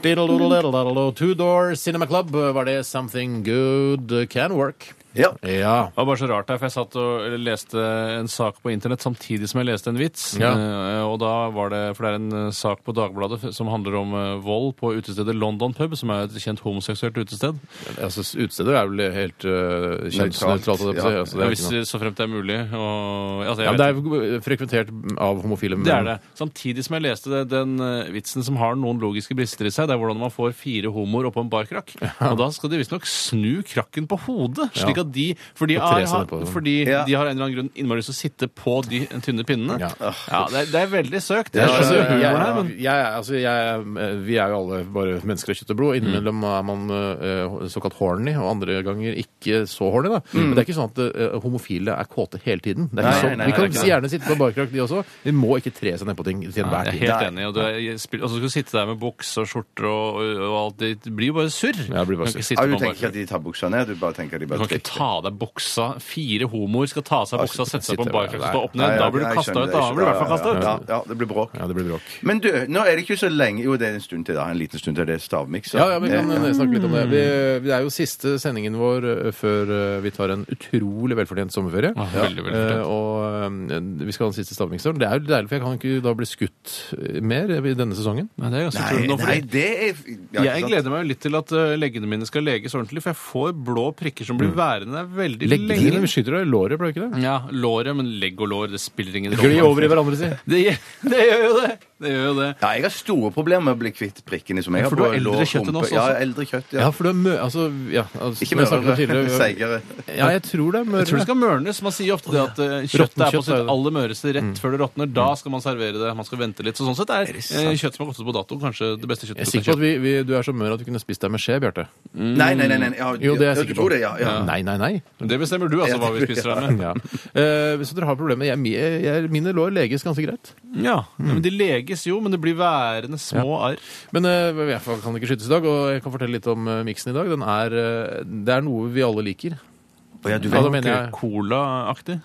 Diddle-doodle-diddle-diddle-do. Two Door Cinema Club var det Something Good Can Work. Ja. Ja. Det var bare så rart der, for jeg satt og leste en sak på internett samtidig som jeg leste en vits. Ja. Eh, og da var det, For det er en eh, sak på Dagbladet f- som handler om eh, vold på utestedet London Pub, som er et kjent homoseksuelt utested. Altså, utestedet er vel helt øh, kjønnsnøytralt. holdt jeg på å si. Ja. Altså, det er jo hvis, ikke noe- så fremt det er mulig. Og, altså, jeg Ja, men vet det er jo frekventert av homofile menn. Det er det. Samtidig som jeg leste det, den eh, vitsen som har noen logiske brister i seg, det er hvordan man får fire homoer oppå en barkrakk. Og da skal de visstnok snu krakken på hodet, slik Ja. at de Fordi, Og tre er, seg nedpå. fordi Ja. de har en eller annen grunn innmari lyst til å sitte på de tynne pinnene. Ja. Ja, det, er, det er veldig søkt. Ja, Jeg altså, skjønner jeg, humoren her, men jeg, jeg- altså, jeg, vi er jo alle bare mennesker av kjøtt og blod. Innimellom er man eh, såkalt horny, og andre ganger ikke så horny. Da. Men det er ikke sånn at eh, homofile er kåte hele tiden. Det er Nei, ikke sånn. nei, nei, vi kan det er ikke gjerne sitte på barkrakk, de også. Vi må ikke tre seg nedpå ting til Nei, enhver jeg tid. er helt enig. Og, du er, jeg spiller, og så skal du sitte der med bukse og skjorter og, og alt. Det blir jo bare surr. det blir bare Du kan ikke surr. sitte Ja, du tenker ikke på en at barkrakk. de tar buksa ned, du bare tenker at de Du bare kan ikke ta av deg buksa. Fire homoer skal ta av seg buksa, sette seg på en barkrakk og stå opp Nei, ned. ja, Da blir jeg du kasta skjønner ut. det, Da jeg blir du i hvert fall skjønner kasta det. ut. Ja, ja, det blir bråk. Ja, det blir bråk. Men du, nå er det ikke så lenge Jo, det er en stund til, da. En liten stund til det er stavmikser. Ja, ja, vi kan Eh, eh, snakke litt om det. Vi, det er jo siste sendingen vår eh, før eh, vi tar en utrolig velfortjent sommerferie. Ah, veldig velfortjent. Eh, og eh, vi skal ha den siste stavmikseren. Det er jo deilig, for jeg kan ikke da bli skutt eh, mer i denne sesongen. Nei, det er ganske Nei, utrolig nå, nei, fordi det er ja, jeg ikke sant? gleder meg jo litt til at eh, leggene mine skal leges ordentlig, for jeg får blå prikker som blir værende der veldig Mm. Legger lenge. vi skyter deg i låret, ble det ikke det? Ja, låret, men legg og lår, det spiller ingen Gli over i hverandre, si. Det, gjør- det gjør jo det! Det gjør jo det. Ja, jeg har store problemer med å bli kvitt prikkene som jeg har for du på har eldre lår, kjøtt enn rumpe. oss Ja, også. eldre kjøtt, Ja, ja. for du er mø... Altså, ja, altså Ikke som jeg snakket om mørere, tidligere, seigere. Ja, jeg tror det er Jeg tror det mørere. skal mørnes. Man sier ofte det at eh, kjøttet er på kjøtt er det. Mm. sitt aller møreste rett før det råtner. Da skal man servere det. Man skal vente litt. Så sånn sett er, eh, kjøtt som har gått ut på dato, kanskje det beste Jeg er kjøttet. sikker på at vi, vi, du er så mør at du kunne spist deg med skje, Bjarte. Nei, nei, nei. nei. Ja, Jo, det er ja, jeg du sikker på. tror det, ja. ja. Nei, nei, nei. Det bestemmer du, altså, hva vi spiser her med. Ja. Eh, så dere har problemer. Jeg, jeg, jeg, mine lår leges ganske greit. Ja, Mm. men De leges jo, men det blir værende små arr. Men eh, i hvert fall kan det ikke skytes i dag, og jeg kan fortelle litt om eh, miksen i dag. Den er, eh, det er noe vi alle liker. Å, ja, du Ja, da vet. mener jeg Cola-aktig.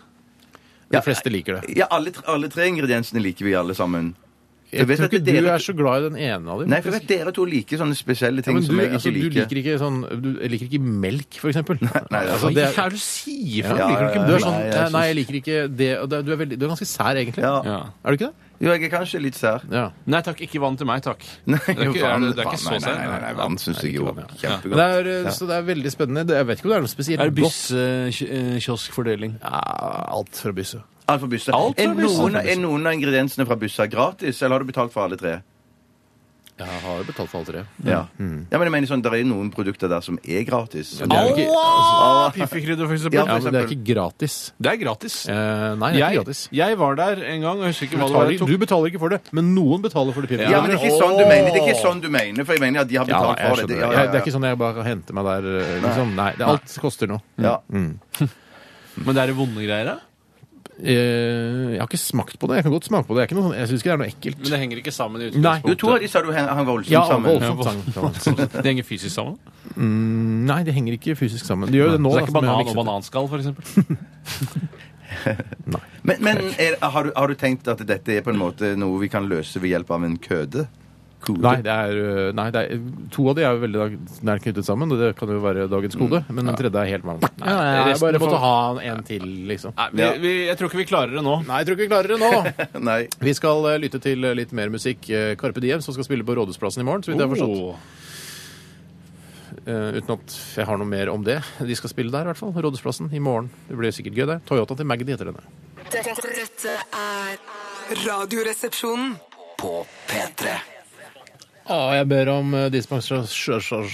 De fleste liker det. ja alle, tre- alle tre ingrediensene liker vi alle sammen. Jeg vet tror at ikke dere- du er så glad i den ene av dem. Nei, for jeg faktisk. vet dere to liker sånne spesielle Ja, ting men du, som jeg ikke altså, liker. du liker ikke sånn Du liker ikke melk, for eksempel. nei, altså, Hva det er er, det du sier? ja, for noe? Liker du ikke du er melk? sånn Nei, jeg Nei, syns- nei, jeg liker ikke det og det- Du er, veldig, du er ganske sær, egentlig. Ja. Ja. Er du ikke det? Jo, jeg er kanskje litt sær. Ja. Nei takk, ikke vann til meg, takk. Nei, det er ikke, vann- er det, det er ikke vann- så nei, nei, nei, sær. nei, vann syns jeg jo kjempegodt. Det er, eh, Så det er veldig spennende. Det- Jeg vet ikke om det er noe spesielt godt. eh, byssekioskfordeling? Ja, alt fra bysse. Alt for bysse. Alt for Er bysse. noen, er noen av ingrediensene fra byssa gratis, eller har du betalt for alle tre? Jeg har betalt for alle tre. Ja. ja, men jeg mener sånn, Det er noen produkter der som er gratis. Mm. Det er jo ikke, altså- Allah! Piffikrydder, for eksempel. Ja, ja, men det er ikke gratis. Det er gratis. Eh, nei, det er ikke Jeg, gratis. jeg var der en gang, og jeg husker ikke hva det var. Betaler, Jeg tok du betaler ikke for det, men noen betaler for det. Pippi. Ja, men det er ikke sånn du mener, det er ikke sånn du mener for jeg mener at de har Ja, betalt jeg for det. skjønner det. Ja, ja, Jeg- Det er ja. ikke sånn jeg bare kan hente meg der. eh, Liksom. Nei, det, alt koster noe. Ja. Mm, Men det er det vonde greier, da? Eh, jeg har ikke smakt på det. Jeg kan godt smake på det. Jeg, er ikke noe sånn, jeg syns ikke det er noe Men ekkelt. det henger ikke sammen i Nei. Du, utgangspunktet. to av de sa du hang hang voldsomt Ja, sammen. voldsomt sammen. Det henger fysisk sammen. Nei, det henger ikke fysisk sammen. Det gjør jo det nå. så det er ikke da, som jeg har banan og mikset det. bananskall, for eksempel. Men, men er, har, du, har du tenkt at dette er på en måte noe vi kan løse ved hjelp av en køde? Kode? Nei, det er, øh, nei det er, to av de er jo veldig dag- nært knyttet sammen, og det kan jo være dagens kode. Men den tredje er helt vanlig. Nei, jeg resten bare får- måtte ha en- en til, liksom. Nei, vi, Ja. vi, jeg tror ikke vi klarer det nå. Nei, jeg tror ikke vi klarer det nå. Nei. Vi skal eh, lytte til eh, litt mer musikk. Eh, Carpe Diem, som skal spille på Rådhusplassen i morgen, så vidt jeg har forstått. Oh. Eh, uten at jeg har noe mer om det. De skal spille der, i hvert fall. Rådhusplassen i morgen. Det blir sikkert gøy, det. Toyota til Magdi heter denne. Dette, dette er Radioresepsjonen. På P3. Å, jeg ber om eh, dispensasjon,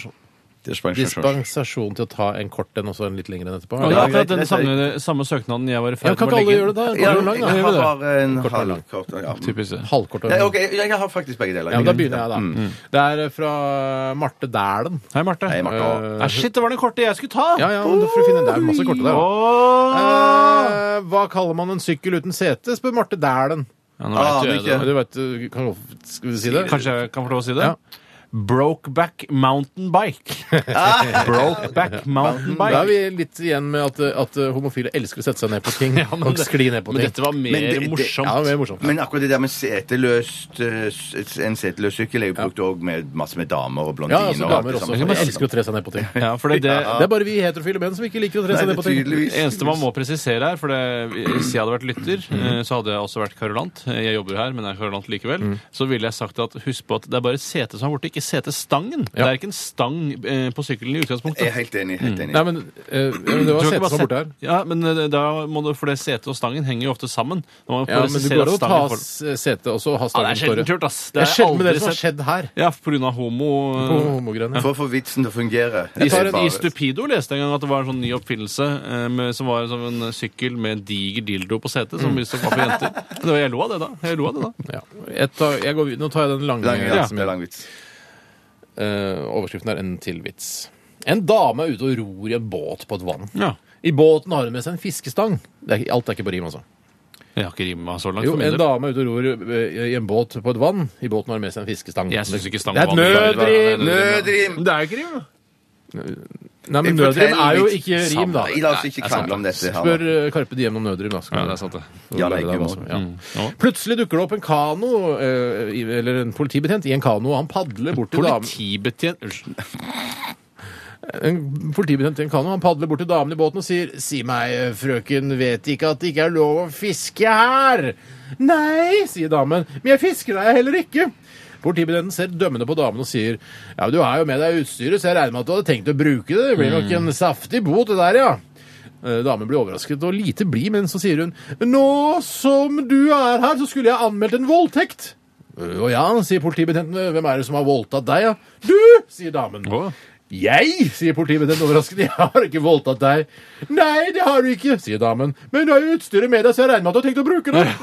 dispensasjon til å ta en kort en, og så en litt lengre enn etterpå. Ja, Det er Ja, akkurat greit, den det sier samme, samme søknaden jeg var i kan ferd med ikke å alle legge gjøre inn. det? da? Ja, Kan du lang, da? jeg har bare en Kort og lang. halvkort. Ja. Typisk det. Halvkort og Ja, lang. OK, Mm. jeg har faktisk begge deler. Ja, men da begynner jeg, da. Det er eh, fra Marte Dæhlen. Hei, Marte. Hei, Marte. Eh, shit, det var den korte jeg skulle ta! Ja, ja, men da får du finne Det er masse korte der. da. Åh! Eh, hva kaller man en sykkel uten sete, spør Marte Dæhlen. Ja, nå vet Ah, jo jeg Mikke. det. Du vet, eh, kan, skal vi si det? Kanskje jeg kan få lov å si det? Ja. Brokeback Mountain Bike. Brokeback Mountain Da er Bike. vi litt igjen med at, at homofile elsker å sette seg ned på ting men og det- skli ned på Men ting. dette var mer Men det- det- morsomt. ja, det er morsomt. Men akkurat det der med seteløst eh, s- En seteløs sykkel er jo brukt òg med masse med damer og blondiner. ja, altså og alt damer det også. samme. Man elsker å tre seg ned på ting. sånn. Ja, for det, det, Det er bare vi heterofile menn som ikke liker å tre Nei, seg det ned er på ting. tydeligvis. eneste man må presisere her, for det, hvis jeg hadde vært lytter, Mm. eh, så hadde jeg også vært karolant. Jeg jobber her, men er karolant likevel. Mm. Så ville jeg sagt at husk på at det er bare setet som er borte, ikke setestangen. Det er ikke en stang eh, på sykkelen i Jeg er utgangspunktet. helt enig. helt enig. Nei, men eh, det Du var kan ikke setet bare som var borte her. sette- Ja, men eh, da må du, for det setet og stangen henger jo ofte sammen. Da må man Ja, men du presisere går at an å ta stangen får- s- setet og så ha Ja, det stangen er for sjelden det. turt, ass. Det er sjelden aldri med det som har sett. Mm. skjedd her. Ja, på grunn av homo... eh, På homogreiene. For å få vitsen til å fungere. I, tar en I Stupido leste jeg en gang at det var en sånn ny oppfinnelse eh, med, som var som en sykkel med en diger dildo på setet, Mm. som visstnok var for jenter. Men det var, jeg lo av det da. Jeg lo av det da. Ja. Jeg tar, jeg går, vid- nå tar jeg den lange, Lang, ja, som det er jeg- lang vits. Eh, overskriften er en til vits. En dame er ute og ror i en båt på et vann. Ja. I båten har hun med seg en fiskestang. Det er, ikke- alt er ikke på rim, altså. Jeg har ikke rima så langt. Jo, for min en del. dame er ute og ror eh, i en båt på et vann. I båten har hun med seg en fiskestang. Jeg syns ikke stang Det er et var vanlig. nødrim! Nødrim! Det er jo ikke rim. da. Nei, men Fortell nødrim er jo litt ikke rim, da. Nei, La oss ikke krangle om dette. her, Spør da. eh, Karpe Diem om nødrim, da. så kan Ja, du- det er sant, det. så Ja, lærer det er deg ikke hva som- noe. ja. Ja. Plutselig dukker det opp en kano, eh, i- eller en politibetjent i en kano, og han padler bort til damen Politibetjent Unnskyld. En politibetjent i en kano, han padler bort til damen i båten og sier Si meg, frøken, vet ikke at det ikke er lov å fiske her? Nei, sier damen, men jeg fisker deg heller ikke. Politibetjenten ser dømmende på damen og sier Ja, men du har jo med deg utstyret, så jeg regner med at du hadde tenkt å bruke det. Det blir nok en saftig bot, det der, ja. Eh, Damen blir overrasket og lite blid, men så sier hun Nå som du er her, så skulle jeg anmeldt en voldtekt. «Øh, Å ja, sier politibetjenten. Hvem er det som har voldtatt deg, da? Ja? Du, sier damen. Å. Jeg, sier politibetjenten overrasket. Jeg har ikke voldtatt deg. Nei, det har du ikke, sier damen. Men du har jo utstyret med deg, så jeg regner med at du har tenkt å bruke det.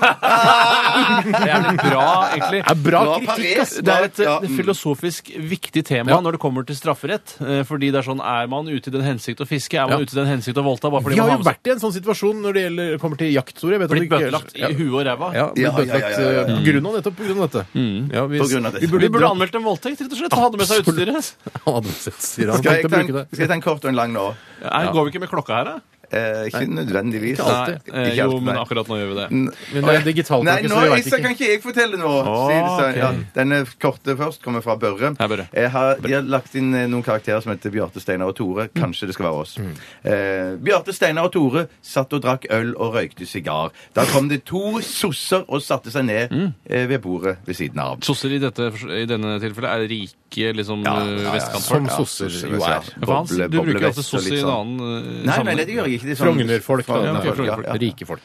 Det er bra, egentlig. Det er bra Bra kritikk, parert. ass. Det er et Ja, eh, mm. filosofisk viktig tema når det kommer til strafferett. eh, Fordi det er sånn, Er man ute i den hensikt å fiske? Er man Ja. ute i den hensikt å voldta? Bare fordi Vi har man jo vært i en sånn situasjon når det gjelder, kommer til jakt, Tore. Jeg vet at det blitt ikke- bøtelagt Ja. i huet og ræva? Ja, blitt Ja, ja, ja, bøtelagt ja, ja, ja. eh, på grunn av nettopp på grunn av dette. Ja, vi, På grunn av dette. Vi burde, Vi burde anmeldt en voldtekt, rett og slett. og Hadde med seg utstyret. Han hadde sett, sier han. Skal jeg Tenkte å ta en- bruke det. skal jeg ta en kort og en lang nå? Nei, Går vi ikke med klokka her, da? Eh, ikke nødvendigvis. Ikke alltid. Ikke Nei, Mm. eh, jo, alltid, men nei. akkurat nå gjør vi det. Men det er digitalt, Nei, ikke, nå så vi vet Isak, kan ikke. ikke jeg fortelle noe. sier det seg. ja, ok. denne korte først kommer fra Børre. Hei, Børre. Jeg har, de har lagt inn eh, noen karakterer som heter Bjarte Steinar og Tore. Kanskje det skal være oss. Eh, Bjarte Steinar og Tore satt og drakk øl og røykte sigar. Da kom det to sosser og satte seg ned eh, ved bordet ved siden av. Sosser i, dette, i denne tilfellet er rike liksom, Ja, eh, ja, ja. vestkantfolk. Som Ja, sosser sosser, jo ja. er. Ja, for han- boble- du bruker boblevest alltid og soss i litt en sånn. annen eh, Nei, nei, sammenheng. det gjør jeg ikke. Det er sånn- Frognerfolk, da. Ja, ok, ja, ja. Rike folk.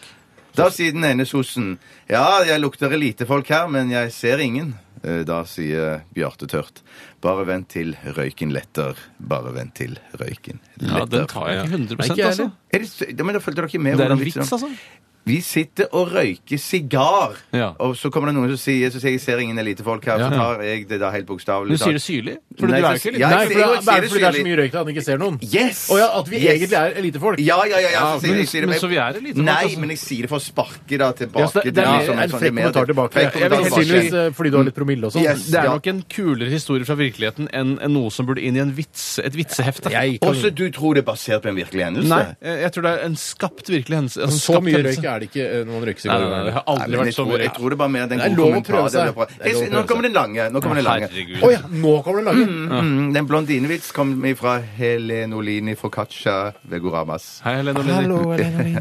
Da sier den ene sossen Ja, jeg lukter lite folk her, men jeg ser ingen. Eh, Da sier Bjarte tørt Bare vent til røyken letter. Bare vent til røyken letter. Ja, den tar jeg ikke 100 Nei, ikke jeg altså. Er det, s- ja, men da fulgte dere ikke med. Det er hvordan en vits, vitsen- altså. Vi sitter og røyker sigar, Ja. og så kommer det noen som sier Så sier jeg ser ingen elite folk her. Ja. Så tar jeg det da helt bokstavelig. Du sier det syrlig. For Nei, du er så- jo ikke ja, litt Nei, for det er, jeg sier bare det fordi det er så syrlig. mye røyk at han ikke ser noen. Yes! Å ja, at vi Yes! egentlig er elitefolk. Ja, ja, ja. ja, Ja, så sier men- jeg, sier det, men så vi er et lite folk, Nei, altså. men jeg sier det for å sparke da tilbake. Ja, så det- det er til mer- de som en sånn- frekk det er mer- kommentar tilbake. Frekk Jeg vil kommentar helt tilbake. synligvis eh, fordi du har litt promille og sånn. Yes. Det er Ja. nok en kulere historie fra virkeligheten enn enn noe som burde inn i en vits, et vitsehefte. Jeg kan- Også du tror det er basert på en virkelig hendelse? Nei, jeg jeg tror det er en skapt virkelig hendelse. altså en Så skapt mye hendelse. røyk er det ikke eh, når man røyker Nei, nei, nei, sigarer. det har Nei, aldri men jeg vært så tror, mye jeg røyk. tror det bare mer den Det er gode lov å kommentaren. prøve seg. det ble bra. Det er lov å Jeg- Nå prøve kommer den lange. Nå kommer den lange. Herregud. Å ja, nå kommer den lange! Mm, Den blondinevits kom fra Helene Olini Focaccia Vegoramas. Hei, Helene og Lenny.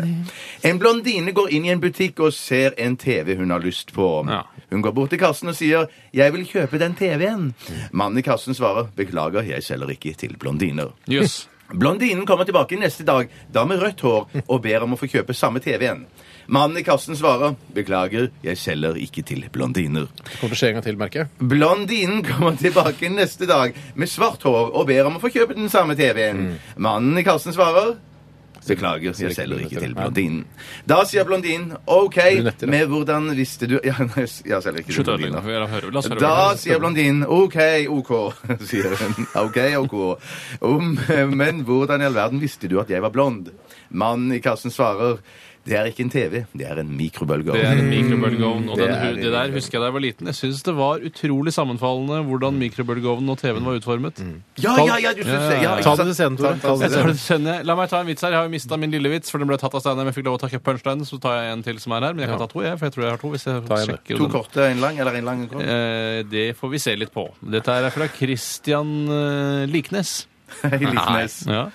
En blondine går inn i en butikk og ser en TV hun har lyst på. Ja. Hun går bort til kassen og sier 'Jeg vil kjøpe den TV-en'. Mannen i kassen svarer 'Beklager, jeg selger ikke til blondiner'. Jøss. Blondinen kommer tilbake neste dag, da med rødt hår, og ber om å få kjøpe samme TV-en. Mannen i kassen svarer 'Beklager, jeg selger ikke til blondiner'. Kommer til å skje en gang til, merker jeg. Blondinen kommer tilbake neste dag med svart hår og ber om å få kjøpe den samme TV-en. Mm. Mannen i kassen svarer Beklager, jeg selger ikke til blondinen. Da sier blondinen OK, Brunetter, da. med hvordan visste du Ja, nei, jeg selger ikke til Slutt å ødelegge. blondiner. La oss høre- la oss høre. Da sier blondinen OK, OK, sier hun. OK, OK. Om, men hvordan i all verden visste du at jeg var blond? Mannen i kassen svarer Det er ikke en TV, det er en mikrobølgeovn. Det er en mikrobølgeovn. Og Det den, er en hu- det der mikrobølgeovn. husker jeg da jeg var liten. Jeg syns det var utrolig sammenfallende hvordan mikrobølgeovnen og TV-en var utformet. Ja, ja, ja, du synes det. Ja, ikke Ta sant? det til scenen, Tore. Ta det til Jeg tar det scenen. til scenen, jeg. La meg ta en vits her. Jeg har jo mista min lille vits, for den ble tatt av Steinar. Men jeg fikk lov å ta punchlinen, så tar jeg en til som er her. Men jeg kan Ja. ta to, jeg, for jeg tror jeg har to. hvis jeg Ta en, du. sjekker To den. korte, en lang, eller en lang og en kort? Eh, Det får vi se litt på. Dette her er fra Christian eh, Liknes. Jeg liker nes. Ja.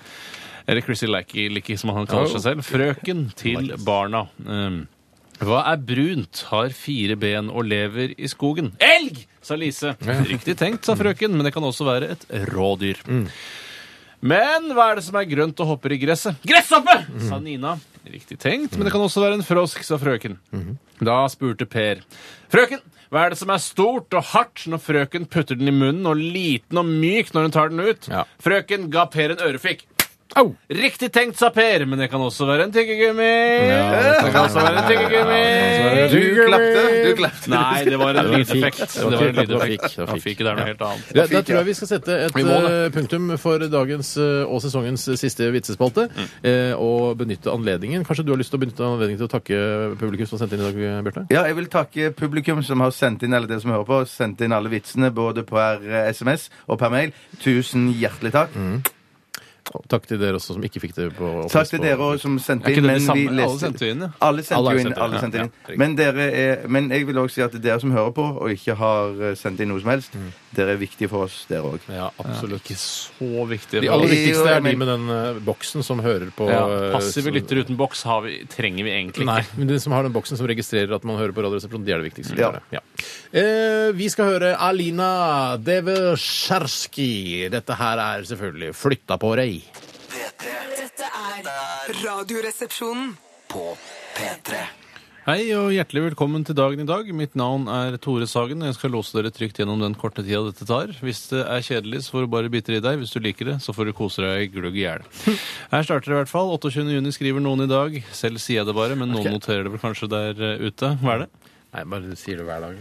Eller Chrissy Lackey, Licky, som han kaller seg selv. Frøken til barna. Um, hva er brunt, har fire ben og lever i skogen? Elg! sa Lise. Riktig tenkt, sa frøken, men det kan også være et rådyr. Men hva er det som er grønt og hopper i gresset? Gresshoppe! sa Nina. Riktig tenkt, men det kan også være en frosk, sa frøken. Da spurte Per. Frøken, hva er det som er stort og hardt når frøken putter den i munnen, og liten og myk når hun tar den ut? Ja. Frøken ga Per en ørefik. Au! Riktig tenkt, sa Per, men det kan også være en tyggegummi. Ja, det kan også være en tyggegummi. Du klapte, du klapte. Nei, det var en var en fikk. lydeffekt. Det var en Det var fikk. lydeffekt. Det var Ja, fikk. fikk, det er noe helt annet. Da, da tror jeg vi skal sette et Vi må det. eh, punktum for dagens eh, og sesongens siste vitsespalte. Mm. eh, Og benytte anledningen. Kanskje du har lyst til å benytte anledningen til å takke publikum som har sendt inn i dag, Bjarte? Ja, jeg vil takke publikum som har sendt inn eller dere som hører på, sendt inn alle vitsene både per eh, SMS og per mail. Tusen hjertelig takk. Mm, Og Takk til dere også som ikke fikk det på Takk til dere også som Er sendte ikke inn. det de samme? vi leste- Alle sendte jo inn, ja. Alle sendte Alle jo inn. sendte, Alle ja, sendte ja, inn. riktig. Men, dere er, men jeg vil også si at dere som hører på og ikke har eh, sendt inn noe som helst, dere er viktige for oss, dere òg. Ja, absolutt. Ikke så viktig. De aller Jo, viktigste er de men- med den eh, boksen som hører på ja, eh, passive som- lyttere uten boks har vi, trenger vi egentlig ikke. Nei, men de som har den boksen som registrerer at man hører på Radioresepsjonen, de er det viktigste. Ja. lyttere. Ja. Eh, vi skal høre Alina Devesjerski. Dette her er selvfølgelig 'Flytta på deg'. P3 Dette er Radioresepsjonen. på P3 Hei og hjertelig velkommen til dagen i dag. Mitt navn er Tore Sagen. og Jeg skal låse dere trygt gjennom den korte tida dette tar. Hvis det er kjedelig, så får du bare bite det i deg. Hvis du liker det, så får du kose deg glugg i hjel. Her starter det i hvert fall. 28. juni skriver noen i dag. Selv sier jeg det bare, men noen noterer det vel kanskje der eh, ute. Hva er det? Nei, bare sier det hver dag.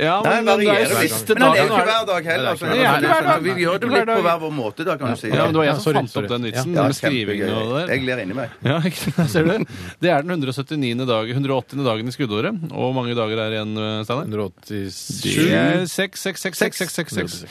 Ja, Nei, men det er varierer jo litt. siste Men det er dagen. jo ikke nå er det- hver dag heller. Nei, Altså, det er ikke hver dag. vi, vi gjør det Hver litt på dag. hver vår måte, da, kan du si. Ja, men det var Ja, jeg som sorry, fant sorry. opp den vitsen Ja, med skrivingen og det kjempegøy. der. Jeg ler inni meg. Ja, ikke sant? ser du det? Det er den 179. Dag, 180. dagen i skuddåret. Og hvor mange dager er det igjen, eh, Steinar? 187 7-6-6-6-6-6-6.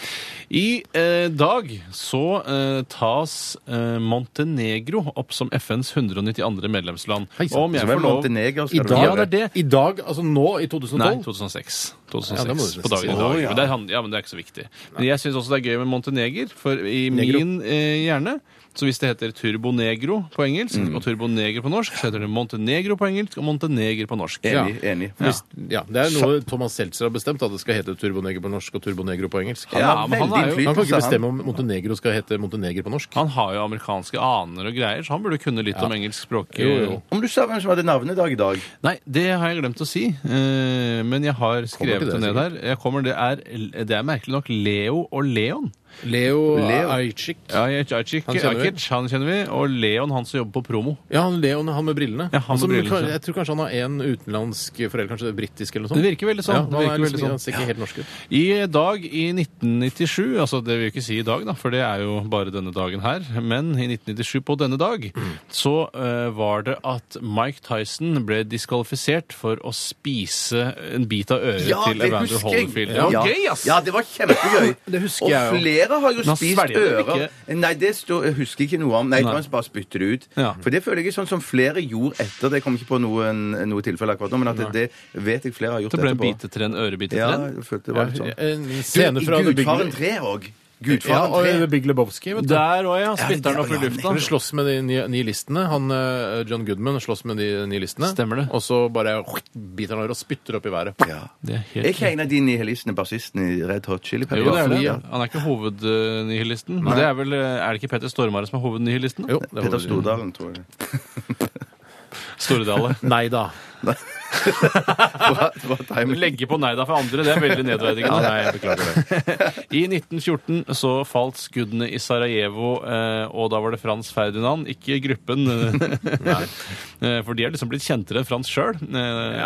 I eh, dag så eh, tas eh, Montenegro opp som FNs 192. medlemsland. Hei, sant. Og om jeg Som er får lov Montenegro, I skal du dag, gjøre. det er det. I dag, altså nå, i 2012? Nei, 2006. 2006 Ja, det må du nesten på dagen i si. dag. Men det er, han- ja, men det er ikke så viktig. Men jeg syns også det er gøy med Monteneger, for i Negro. min eh, hjerne så hvis det heter Turbo Negro på engelsk Mm. og Turbo Neger på norsk, så heter det Montenegro på engelsk og Monteneger på norsk. Enig. enig. Hvis, ja, Det er noe Thomas Seltzer har bestemt, at det skal hete Turbonegro på norsk og Turbonegro på engelsk. Han Ja, har men han veldig er jo- Han kan innflytelse, ikke bestemme om Montenegro skal hete Montenegro på norsk. Han har jo amerikanske aner og greier, så han burde kunne litt om engelsk språk. eh. Jo, jo. Om du sa hvem som hadde navnedag i dag? Nei, det har jeg glemt å si, eh, men jeg har skrevet til det, det, ned her. Jeg kommer, det, er, det er merkelig nok Leo og Leon. Leo, Leo. Ajcic. Ja, jeg, jeg, jeg, Han kjenner vi. Akic, han kjenner vi, og Leon, han som jobber på promo. Ja, han Leon, han med brillene. Ja, han med Altså, men brillene, kan- ja. Jeg tror kanskje han har en utenlandsk forelder, kanskje britisk eller noe sånt. Det virker veldig sånn. Ja, han det er virker liksom, veldig han sånn. ser ikke helt norsk ut. I dag i 1997, altså det vil jeg ikke si i dag, da, for det er jo bare denne dagen her, men i 1997 på denne dag, så eh, var det at Mike Tyson ble diskvalifisert for å spise en bit av øret eh, til Evander Holyfield. Det var Ja. gøy, ass! Ja, det var kjempegøy. Det husker og jeg jo. flere har jo Men han spist svelger det ører. Nei, det står- jeg husker ikke noe om. Nei, jeg tror Nei. han bare spytter det ut. Ja. For det føler jeg er sånn som flere gjorde etter. Det kom ikke på noen, noe tilfelle akkurat nå, men at det, det vet jeg flere har gjort Det ble en etterpå. bitetrend, Ja, ørebitetrend. jeg følte det var litt sånn. eh, En scene fra du, The i Big, Gudfaren 3 òg. ja, Gudfaren og 3. The eh, Big Lebowski. Vet du. Der òg, ja. Spytter den opp i lufta. Han slåss med de ni- nihilistene. Han, eh, John Goodman slåss med de nihilistene. Stemmer det. Og så bare biter han over og spytter opp i været. Ja. Det er Er helt ikke en av de nihilistene bassisten i Red Hot Chili Peppers? jo, det er det. Ja. Han er ikke hovednihilisten. Det er, vel, eh, er det ikke Petter Stormare som er hovednihilisten? da? Jo, det var Petter det. Stordalen, tror jeg. Stordale. Nei da. Bra, bra timing. Legge på nei da for andre, det er veldig nedverdigende. nei, jeg beklager det. I 1914 så falt skuddene i Sarajevo, eh, og da var det Frans Ferdinand, ikke gruppen. Eh, For de er liksom blitt kjentere enn Frans sjøl. Eh,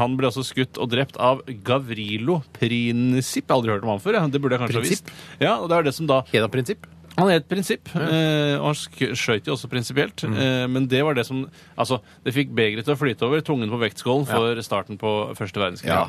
Han ble også skutt og drept av Gavrilo Princip. Jeg har aldri hørt om han før. jeg. Det burde jeg kanskje ha Princip? visst. Ja, og det er det som da Hedaprinsipp. Han er et prinsipp, eh, og han sk- skjøt jo også prinsipielt. Eh, men det var det som Altså, det fikk begeret til å flyte over tungen på vektskålen for starten på første verdenskrig. Ja.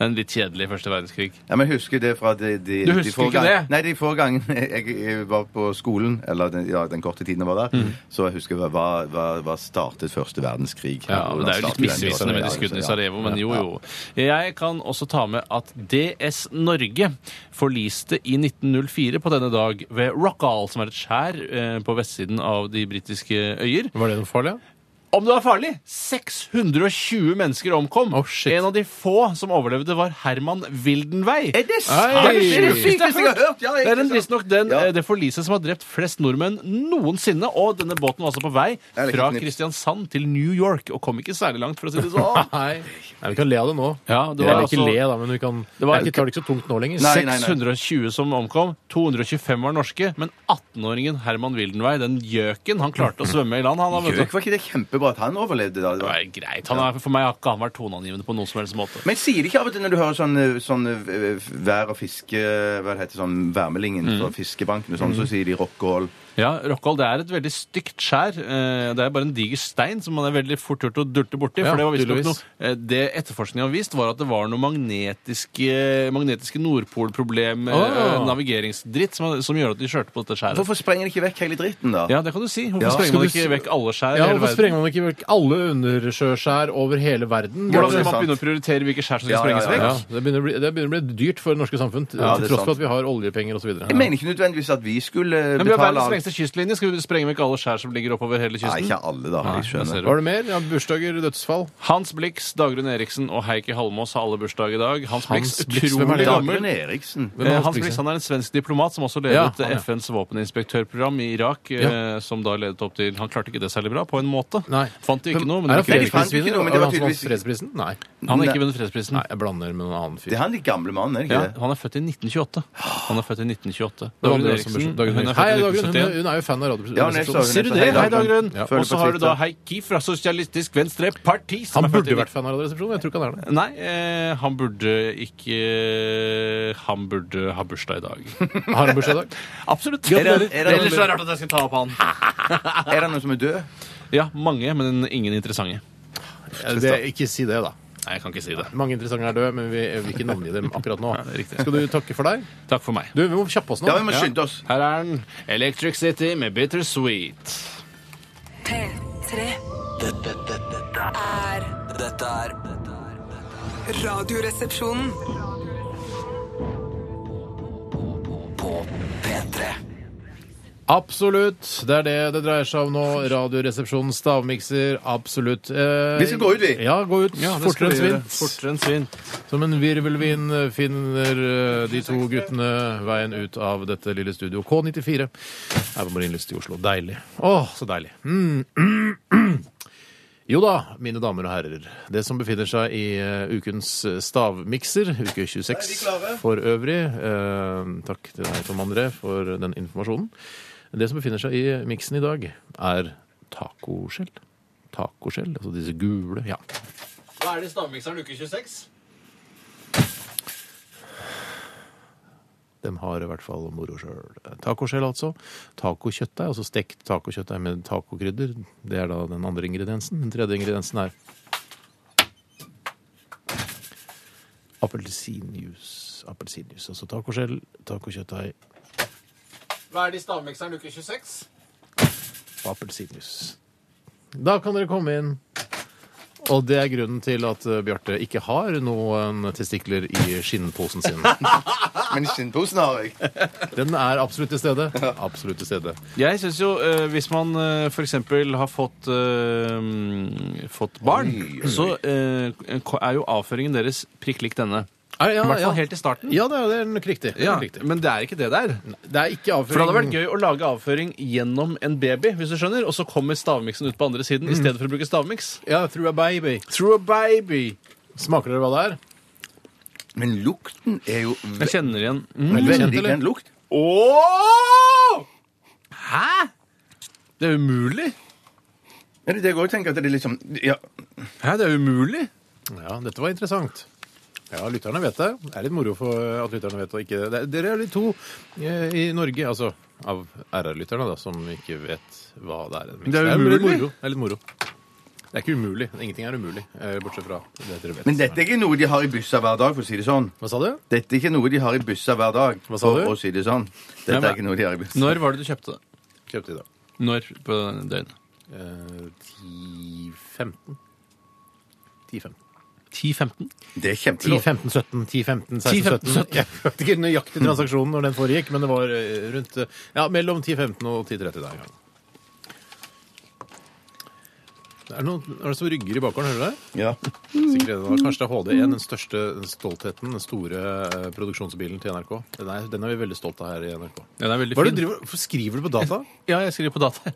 En litt kjedelig første verdenskrig. Ja, men jeg husker det fra de, de, Du husker de få ikke gang- det? Nei, de få gangene jeg, jeg var på skolen, eller den, ja, den korte tiden jeg var Mm. der, så jeg husker jeg hva, hva, hva startet første verdenskrig. Ja, men Det er jo litt misvisende med de skuddene i Sarajevo, men jo, jo. Jeg kan også ta med at DS Norge forliste i 1904 på denne dag ved Rockall, som er et skjær eh, på vestsiden av de britiske øyer. Var det noe farlig? ja? Om det var farlig! 620 mennesker omkom. Oh, shit. en av de få som overlevde, var Herman Wildenvey. Er det sant? Hei! Det er det sykeste jeg har hørt! Ja, Det er ikke en- sant? visstnok den, Ja. eh, det forliset som har drept flest nordmenn noensinne. Og denne båten var altså på vei er litt fra knipt. Kristiansand til New York og kom ikke særlig langt, for å si det sånn. Nei. Nei, vi kan le av det nå. Ja, det var Eller ikke altså- le, da, men vi kan Det var- Jeg tar det ikke så tungt nå lenger. Nei, nei, nei. 620 som omkom, 225 var norske, men 18-åringen Herman Wildenvey, den gjøken, han klarte å svømme i land. Han, da, vet Gjøk, du. var ikke det kjempebra at han overlevde da? Det Det var- var greit. Han er, for meg har ikke han vært toneangivende på noen som helst måte. Men sier de ikke av og til når du hører sånn, eh, sånn eh, vær- og fiske... Hva det heter sånn værmeldingen Mm. fra fiskebanken og sånn, så sier de rockehall. Ja, Rockhold, det er et veldig stygt skjær. Eh, Det er bare en diger stein som man er veldig fort gjort å dulte borti. Ja, for Det var visstnok tydeligvis. noe, eh, det etterforskningen har vist, var at det var noe magnetiske, magnetiske nordpolproblem, eh, Ah. navigeringsdritt, som, som gjør at de kjørte på dette skjæret. Hvorfor sprenger de ikke vekk hele dritten da? Ja, det kan du si. Hvorfor Ja. sprenger Skal man du ikke si- vekk alle skjær i Ja, hele Hvorfor verden? sprenger man ikke vekk alle undersjøskjær over hele verden? Hvordan Ja, det skal er man sant. begynne å prioritere hvilke skjær som skal Ja, ja, sprenges ja, vekk? Ja, det, begynner å bli, det begynner å bli dyrt for det norske samfunn, Ja, det er til tross for sant. at vi har oljepenger osv. Jeg mener ikke nødvendigvis at vi skulle Men vi har betale verdens alt. lengste kystlinje. Skal vi sprenge vekk alle skjær som ligger oppover hele Nei, kysten? ikke alle da, jeg jeg ser skjønner. det. Var det mer? Ja, bursdager, dødsfall. Hans Blix, Dagrun Eriksen og Heikki Halmås har alle bursdag i dag. Hans Blix, Hans Blix, hvem er utrolig det? gammel. Dagrun Eriksen. Hvem er Eh, Hans Hans Blix, Blix ja? han er en svensk diplomat som også Ja, ledet han, eh, ja. FNs våpeninspektørprogram i Irak, eh, som da ledet opp til Han klarte ikke det særlig bra, på en måte. Nei. Fant de ikke noe, men er han det var fredspris? ikke fant ikke fredsprisvinner? noe, men det Er det var han som vant tydeligvis- sånn fredsprisen? Nei. han har ikke vunnet fredsprisen. Nei, jeg blander med noen annen fyr. Det er han litt gamle mannen, er det Ja, ikke det? han er født i 1928. Han er født i 1928. Det var Dagrun Dagrun Eriksen. Eriksen, Dagrun hun er Eriksen. født Hei, Dagrun. i Hun, 1971. hun er jo fan av Ja, hun er så- Radioresepsjonen. Ser du det? Hei, Hei, Dagrun. Dagrun. Ja. Og så har du da Følg på Heikki fra Sosialistisk Venstreparti. som Han er født i burde jo vært fan av Radioresepsjonen. Jeg tror ikke han er det. Nei, eh, han burde ikke eh, Han burde ha bursdag i dag. Har han bursdag i dag? Absolutt. Gratulerer. Er det- er det- Ellers så er det rart at jeg skal ta opp han. Er det noen som er død? Ja, mange, men ingen interessante. Eh, Det, ikke si det, da. Nei, jeg kan ikke si det. Mange interessante er døde, men vi jeg vil ikke navngi dem akkurat nå. det er riktig. Skal du takke for deg? Takk for meg. Du, vi må kjappe oss nå. Ja, vi må skynde oss. Her er den. Electric City med Bittersweet. P3 Dette, dette, dette, er dette er dette er- dette er Radioresepsjonen. På P3 Absolutt. Det er det det dreier seg om nå. Radioresepsjonen, stavmikser, absolutt. Eh, Vi skal gå ut, vi. Ja, gå ut. Fortere enn svint. Fortere enn svint. Som en virvelvind finner eh, de to guttene veien ut av dette lille studio. K94 er på Marienlyst i Oslo. Deilig. Å, så deilig. Mm. Jo da, mine damer og herrer. Det som befinner seg i eh, ukens stavmikser, uke 26 for øvrig eh, Takk til deg, Tom André, for den informasjonen. Det som befinner seg i miksen i dag, er tacoskjell. Tacoskjell, altså disse gule Ja. Hva er det i Stavmikseren uke 26? De har i hvert fall moro sjøl. Tacoskjell, altså. Tacokjøttdeig, altså stekt tacokjøttdeig med tacokrydder. Det er da den andre ingrediensen. Den tredje ingrediensen er appelsinjuice. Appelsinjuice, altså tacoskjell, tacokjøttdeig Hva er det i Stavmikseren uke 26? og appelsinjuice. Da kan dere komme inn. Og det er grunnen til at eh, Bjarte ikke har noen testikler i skinnposen sin. Men skinnposen har jeg. Den er absolutt til stede. Absolutt til stede. Jeg syns jo eh, hvis man eh, for f.eks. har fått, eh, mm, fått barn, så eh, ko- er jo avføringen deres prikk lik denne. Er- ja, I hvert fall ja. helt i starten. Ja, det er, det er nok riktig. Det er nok riktig. Men det er ikke det der. Det er ikke avføring. For det hadde vært gøy å lage avføring gjennom en baby, hvis du skjønner, og så kommer stavmiksen ut på andre siden i stedet for å bruke stavmiks. Ja, through a baby. Through a baby. Smaker dere hva det er? Men lukten er jo ve Jeg kjenner igjen. kjent, veldig eller? kjent lukt. Åh! Hæ? Det er umulig. Er liksom, det det jeg også tenker at det er litt sånn ja. Hæ, det er umulig. Ja, dette var interessant. Ja, lytterne vet det. Det er litt moro for at lytterne vet det. og Ikke. det er- Dere er de to eh, i Norge, altså av RR-lytterne, da, som ikke vet hva det er. Det er litt umulig. moro. Det er litt moro. Det er ikke umulig. Ingenting er umulig, eh, bortsett fra det dere vet. Men dette er ikke noe de har i byssa hver dag, for å si det sånn. Hva sa du? Dette er ikke noe de har i byssa hver dag, Hva sa du? for å si det sånn. Nei, Dette men- er ikke noe de har i byssa. Når var det du kjøpte det? Kjøpte i dag. Når på døgnet? Eh, 10-15. 10-15. 10-15? Det er 10, kjempelov. 15, 17, 10, 15, 16, 10, 17. Jeg vet ikke nøyaktig transaksjonen når den foregikk, men det var eh, rundt eh, ja, mellom 10, 15 og 10, 30 der en gang. Det er, noen, er det som rygger i bakgården, hører du det? Ja. Sikkert en av dem. Kanskje det er HD1, den største stoltheten, den store eh, produksjonsbilen til NRK. Den er, den er vi veldig stolte av her i NRK. Ja, den er veldig Hva er det fin. du driver, hvorfor skriver du på data? Ja, jeg skriver på data.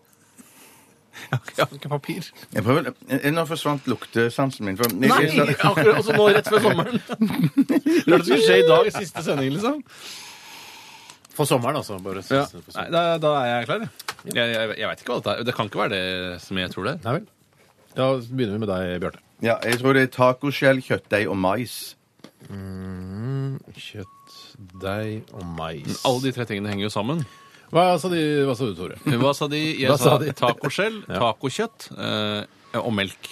Jeg har ikke- Jeg har ikke papir. Jeg prøver, eh, nå forsvant luktesansen min. For, Nei! Jeg- jeg- Akkurat altså nå rett før sommeren. Hva er det som skjer i dag? Siste sending, liksom? For sommeren, altså. Bare Ja. for Nei, sommeren. da, da er jeg klar, jeg. Jeg, jeg, jeg veit ikke hva dette er. Det kan ikke være det som jeg tror det er. Nei vel. Da begynner vi med deg, Bjarte. ja, jeg tror det er tacoskjell, kjøttdeig og mais. Kjøtt, deig og mais. Alle de tre tingene henger jo sammen. Hva sa, de, hva sa du, Tore? Hva sa de? Jeg Hva sa sa de? tacoskjell, tacokjøtt eh, og melk.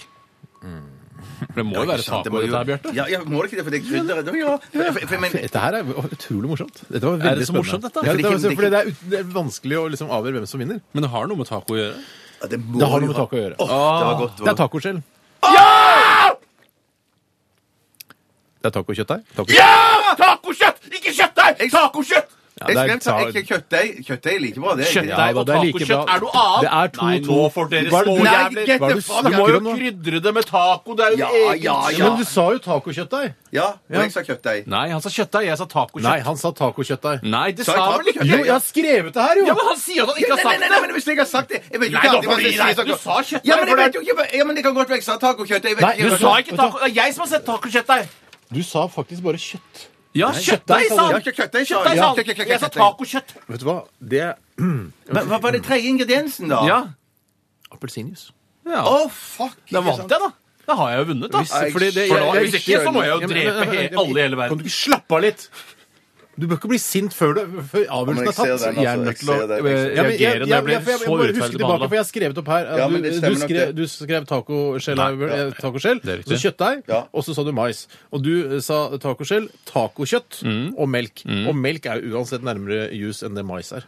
For det må jo være Sant, taco, må jo- dette her, Bjarte. Ja, ja, må det ikke det? For det er krydderet. Ja, for- for- for- men- Dette her er utrolig morsomt. Dette var Er veldig det så spennende. morsomt, dette? Ja, Fordi det, var, ikke- fordi det, er, ut- det er vanskelig å liksom avgjøre hvem som vinner. Men det har noe med taco å gjøre. ja, det, må Det har jo noe med ha- taco å gjøre. Åh, det var godt. Det er taco. tacoskjell. Ja! Det er tacokjøttdeig. Ja! Tacokjøtt! Ikke kjøttdeig! Tacokjøtt! det er Jeg skrev ta- ta- ikke kjøttdeig. Kjøttdeig er like bra, det. egentlig. Kjøttdeig og tacokjøtt er noe annet. Nei, nå får dere små Nei, get the fuck out. snakker om nå? krydre det med taco. Det er Ja, ja, Ja, ja. men du sa jo tacokjøttdeig. Ja, og jeg sa kjøttdeig. Nei, han sa kjøttdeig. Jeg sa tacokjøtt. Nei, han sa tacokjøttdeig. Nei, det Sa sa jeg han vel ikke? tacokjøtt? Jo, jeg har skrevet det her, jo! Ja, men han sier at han Nei, ikke har nei, sagt nei, det! nei, men hvis jeg har sagt det jeg vet jo Nei, ikke da alltid hva får jeg du- sier, nei, så- du sa kjøttdeig, Ja, men jeg for vet det- jo ikke hva- Ja, men det kan godt være jeg sa tacokjøtt. Jeg vet Nei, ikke du hva- Du sa ikke taco. Det er jeg som har sett tacokjøtt der. Du sa faktisk bare kjøtt. Ja, kjøttdeig, sa Ja, han. kjø- kjøttdeig, sa Kjøttdeig, jeg. sa Ja, kjø- han. kjø- kjø- sånn. Jeg sa kjøttdeig. tacokjøtt. Vet du hva? Det er Hva hva var det tredje ingrediensen, da? Ja. appelsinjus. ja. Å, fuck! Da vant jeg, da. Da har jeg jo vunnet, da. jeg Fordi det, skjønner- hvis ikke, så må Ja, jeg jo men- drepe he alle i hele Kan du ikke verden. slappe av litt? Du bør ikke bli sint før, du, før men avgjørelsen er jeg ser tatt. den, altså. Jeg er nødt Jeg til å- ser den, jeg ser- Ja, men jeg- eh, Reagere når jeg jeg- blir jeg- jeg- jeg så må urettferdig huske tilbake, behandlet. for jeg har skrevet opp her at Ja, men du, det du, stemmer nok skrev, det. du skrev tacoskjell, eh, tacoskjell Det er så riktig. kjøttdeig, Ja. og så sa du mais. Og du eh, sa tacoskjell, tacokjøtt Mm. og melk. Og melk er jo uansett nærmere juice enn det mais er.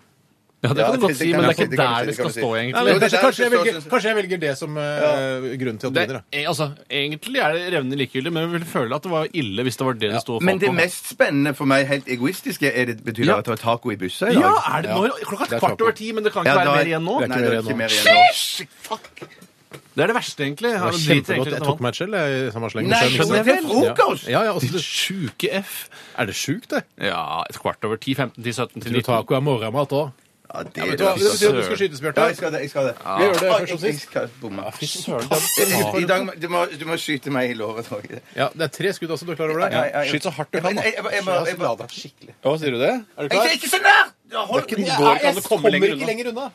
Ja, det Ja, kan det du godt kan si, man si, det kan men det er ikke man der si, det det kan skal man si. stå, Nei, men egentlig. det er kanskje, kanskje, jeg derfor velger, så- kanskje jeg velger det som eh, grunn til at du Det, vinner. da. er- altså, egentlig er det revnende likegyldig, men jeg ville føle at det var ille hvis det var det det sto og Men falt det på. mest spennende for meg, helt egoistiske, er det betyr det Ja. at det var taco i bussa i dag? Ja, er det når, Det klokka er er kvart taco. over ti, men det kan ikke Ja, være da- mer igjen nå? Det er Nei, det er ikke mer igjen nå. Det er det verste, egentlig. Det var Jeg driter kjempegodt. egentlig i Jeg det tok vann. meg et skjell jeg, i samme slengen. Nei, Så jeg skjønner jeg mistet det. vel? Frokost! Ja, ja, og så- Sjuke F. er det sjukt, det? Ja, et kvart over ti, 15 til 17 til Tror du 19. taco er morgenmat òg? Ja, det Det er betyr at det. du skal skytes, Ja, Bjarte. jeg skal det. Jeg skal det. Vi gjør det Oi, først og jeg- sist. jeg skal bomme. Ja. I dag, må- du må, du må skyte meg i låret, tror jeg. Ja, det er tre skudd, altså. Du er klar over det? Ja, ja, ja. Skyt så hardt du kan, da. Jeg- jeg- jeg- jeg- jeg- jeg- jeg- Skikkelig. Ja, sier du det? Er du Jeg klar? ikke så nær! Ja, Hold Jeg, Ja, går, kan du jeg komme kommer lenger ikke unna? lenger unna.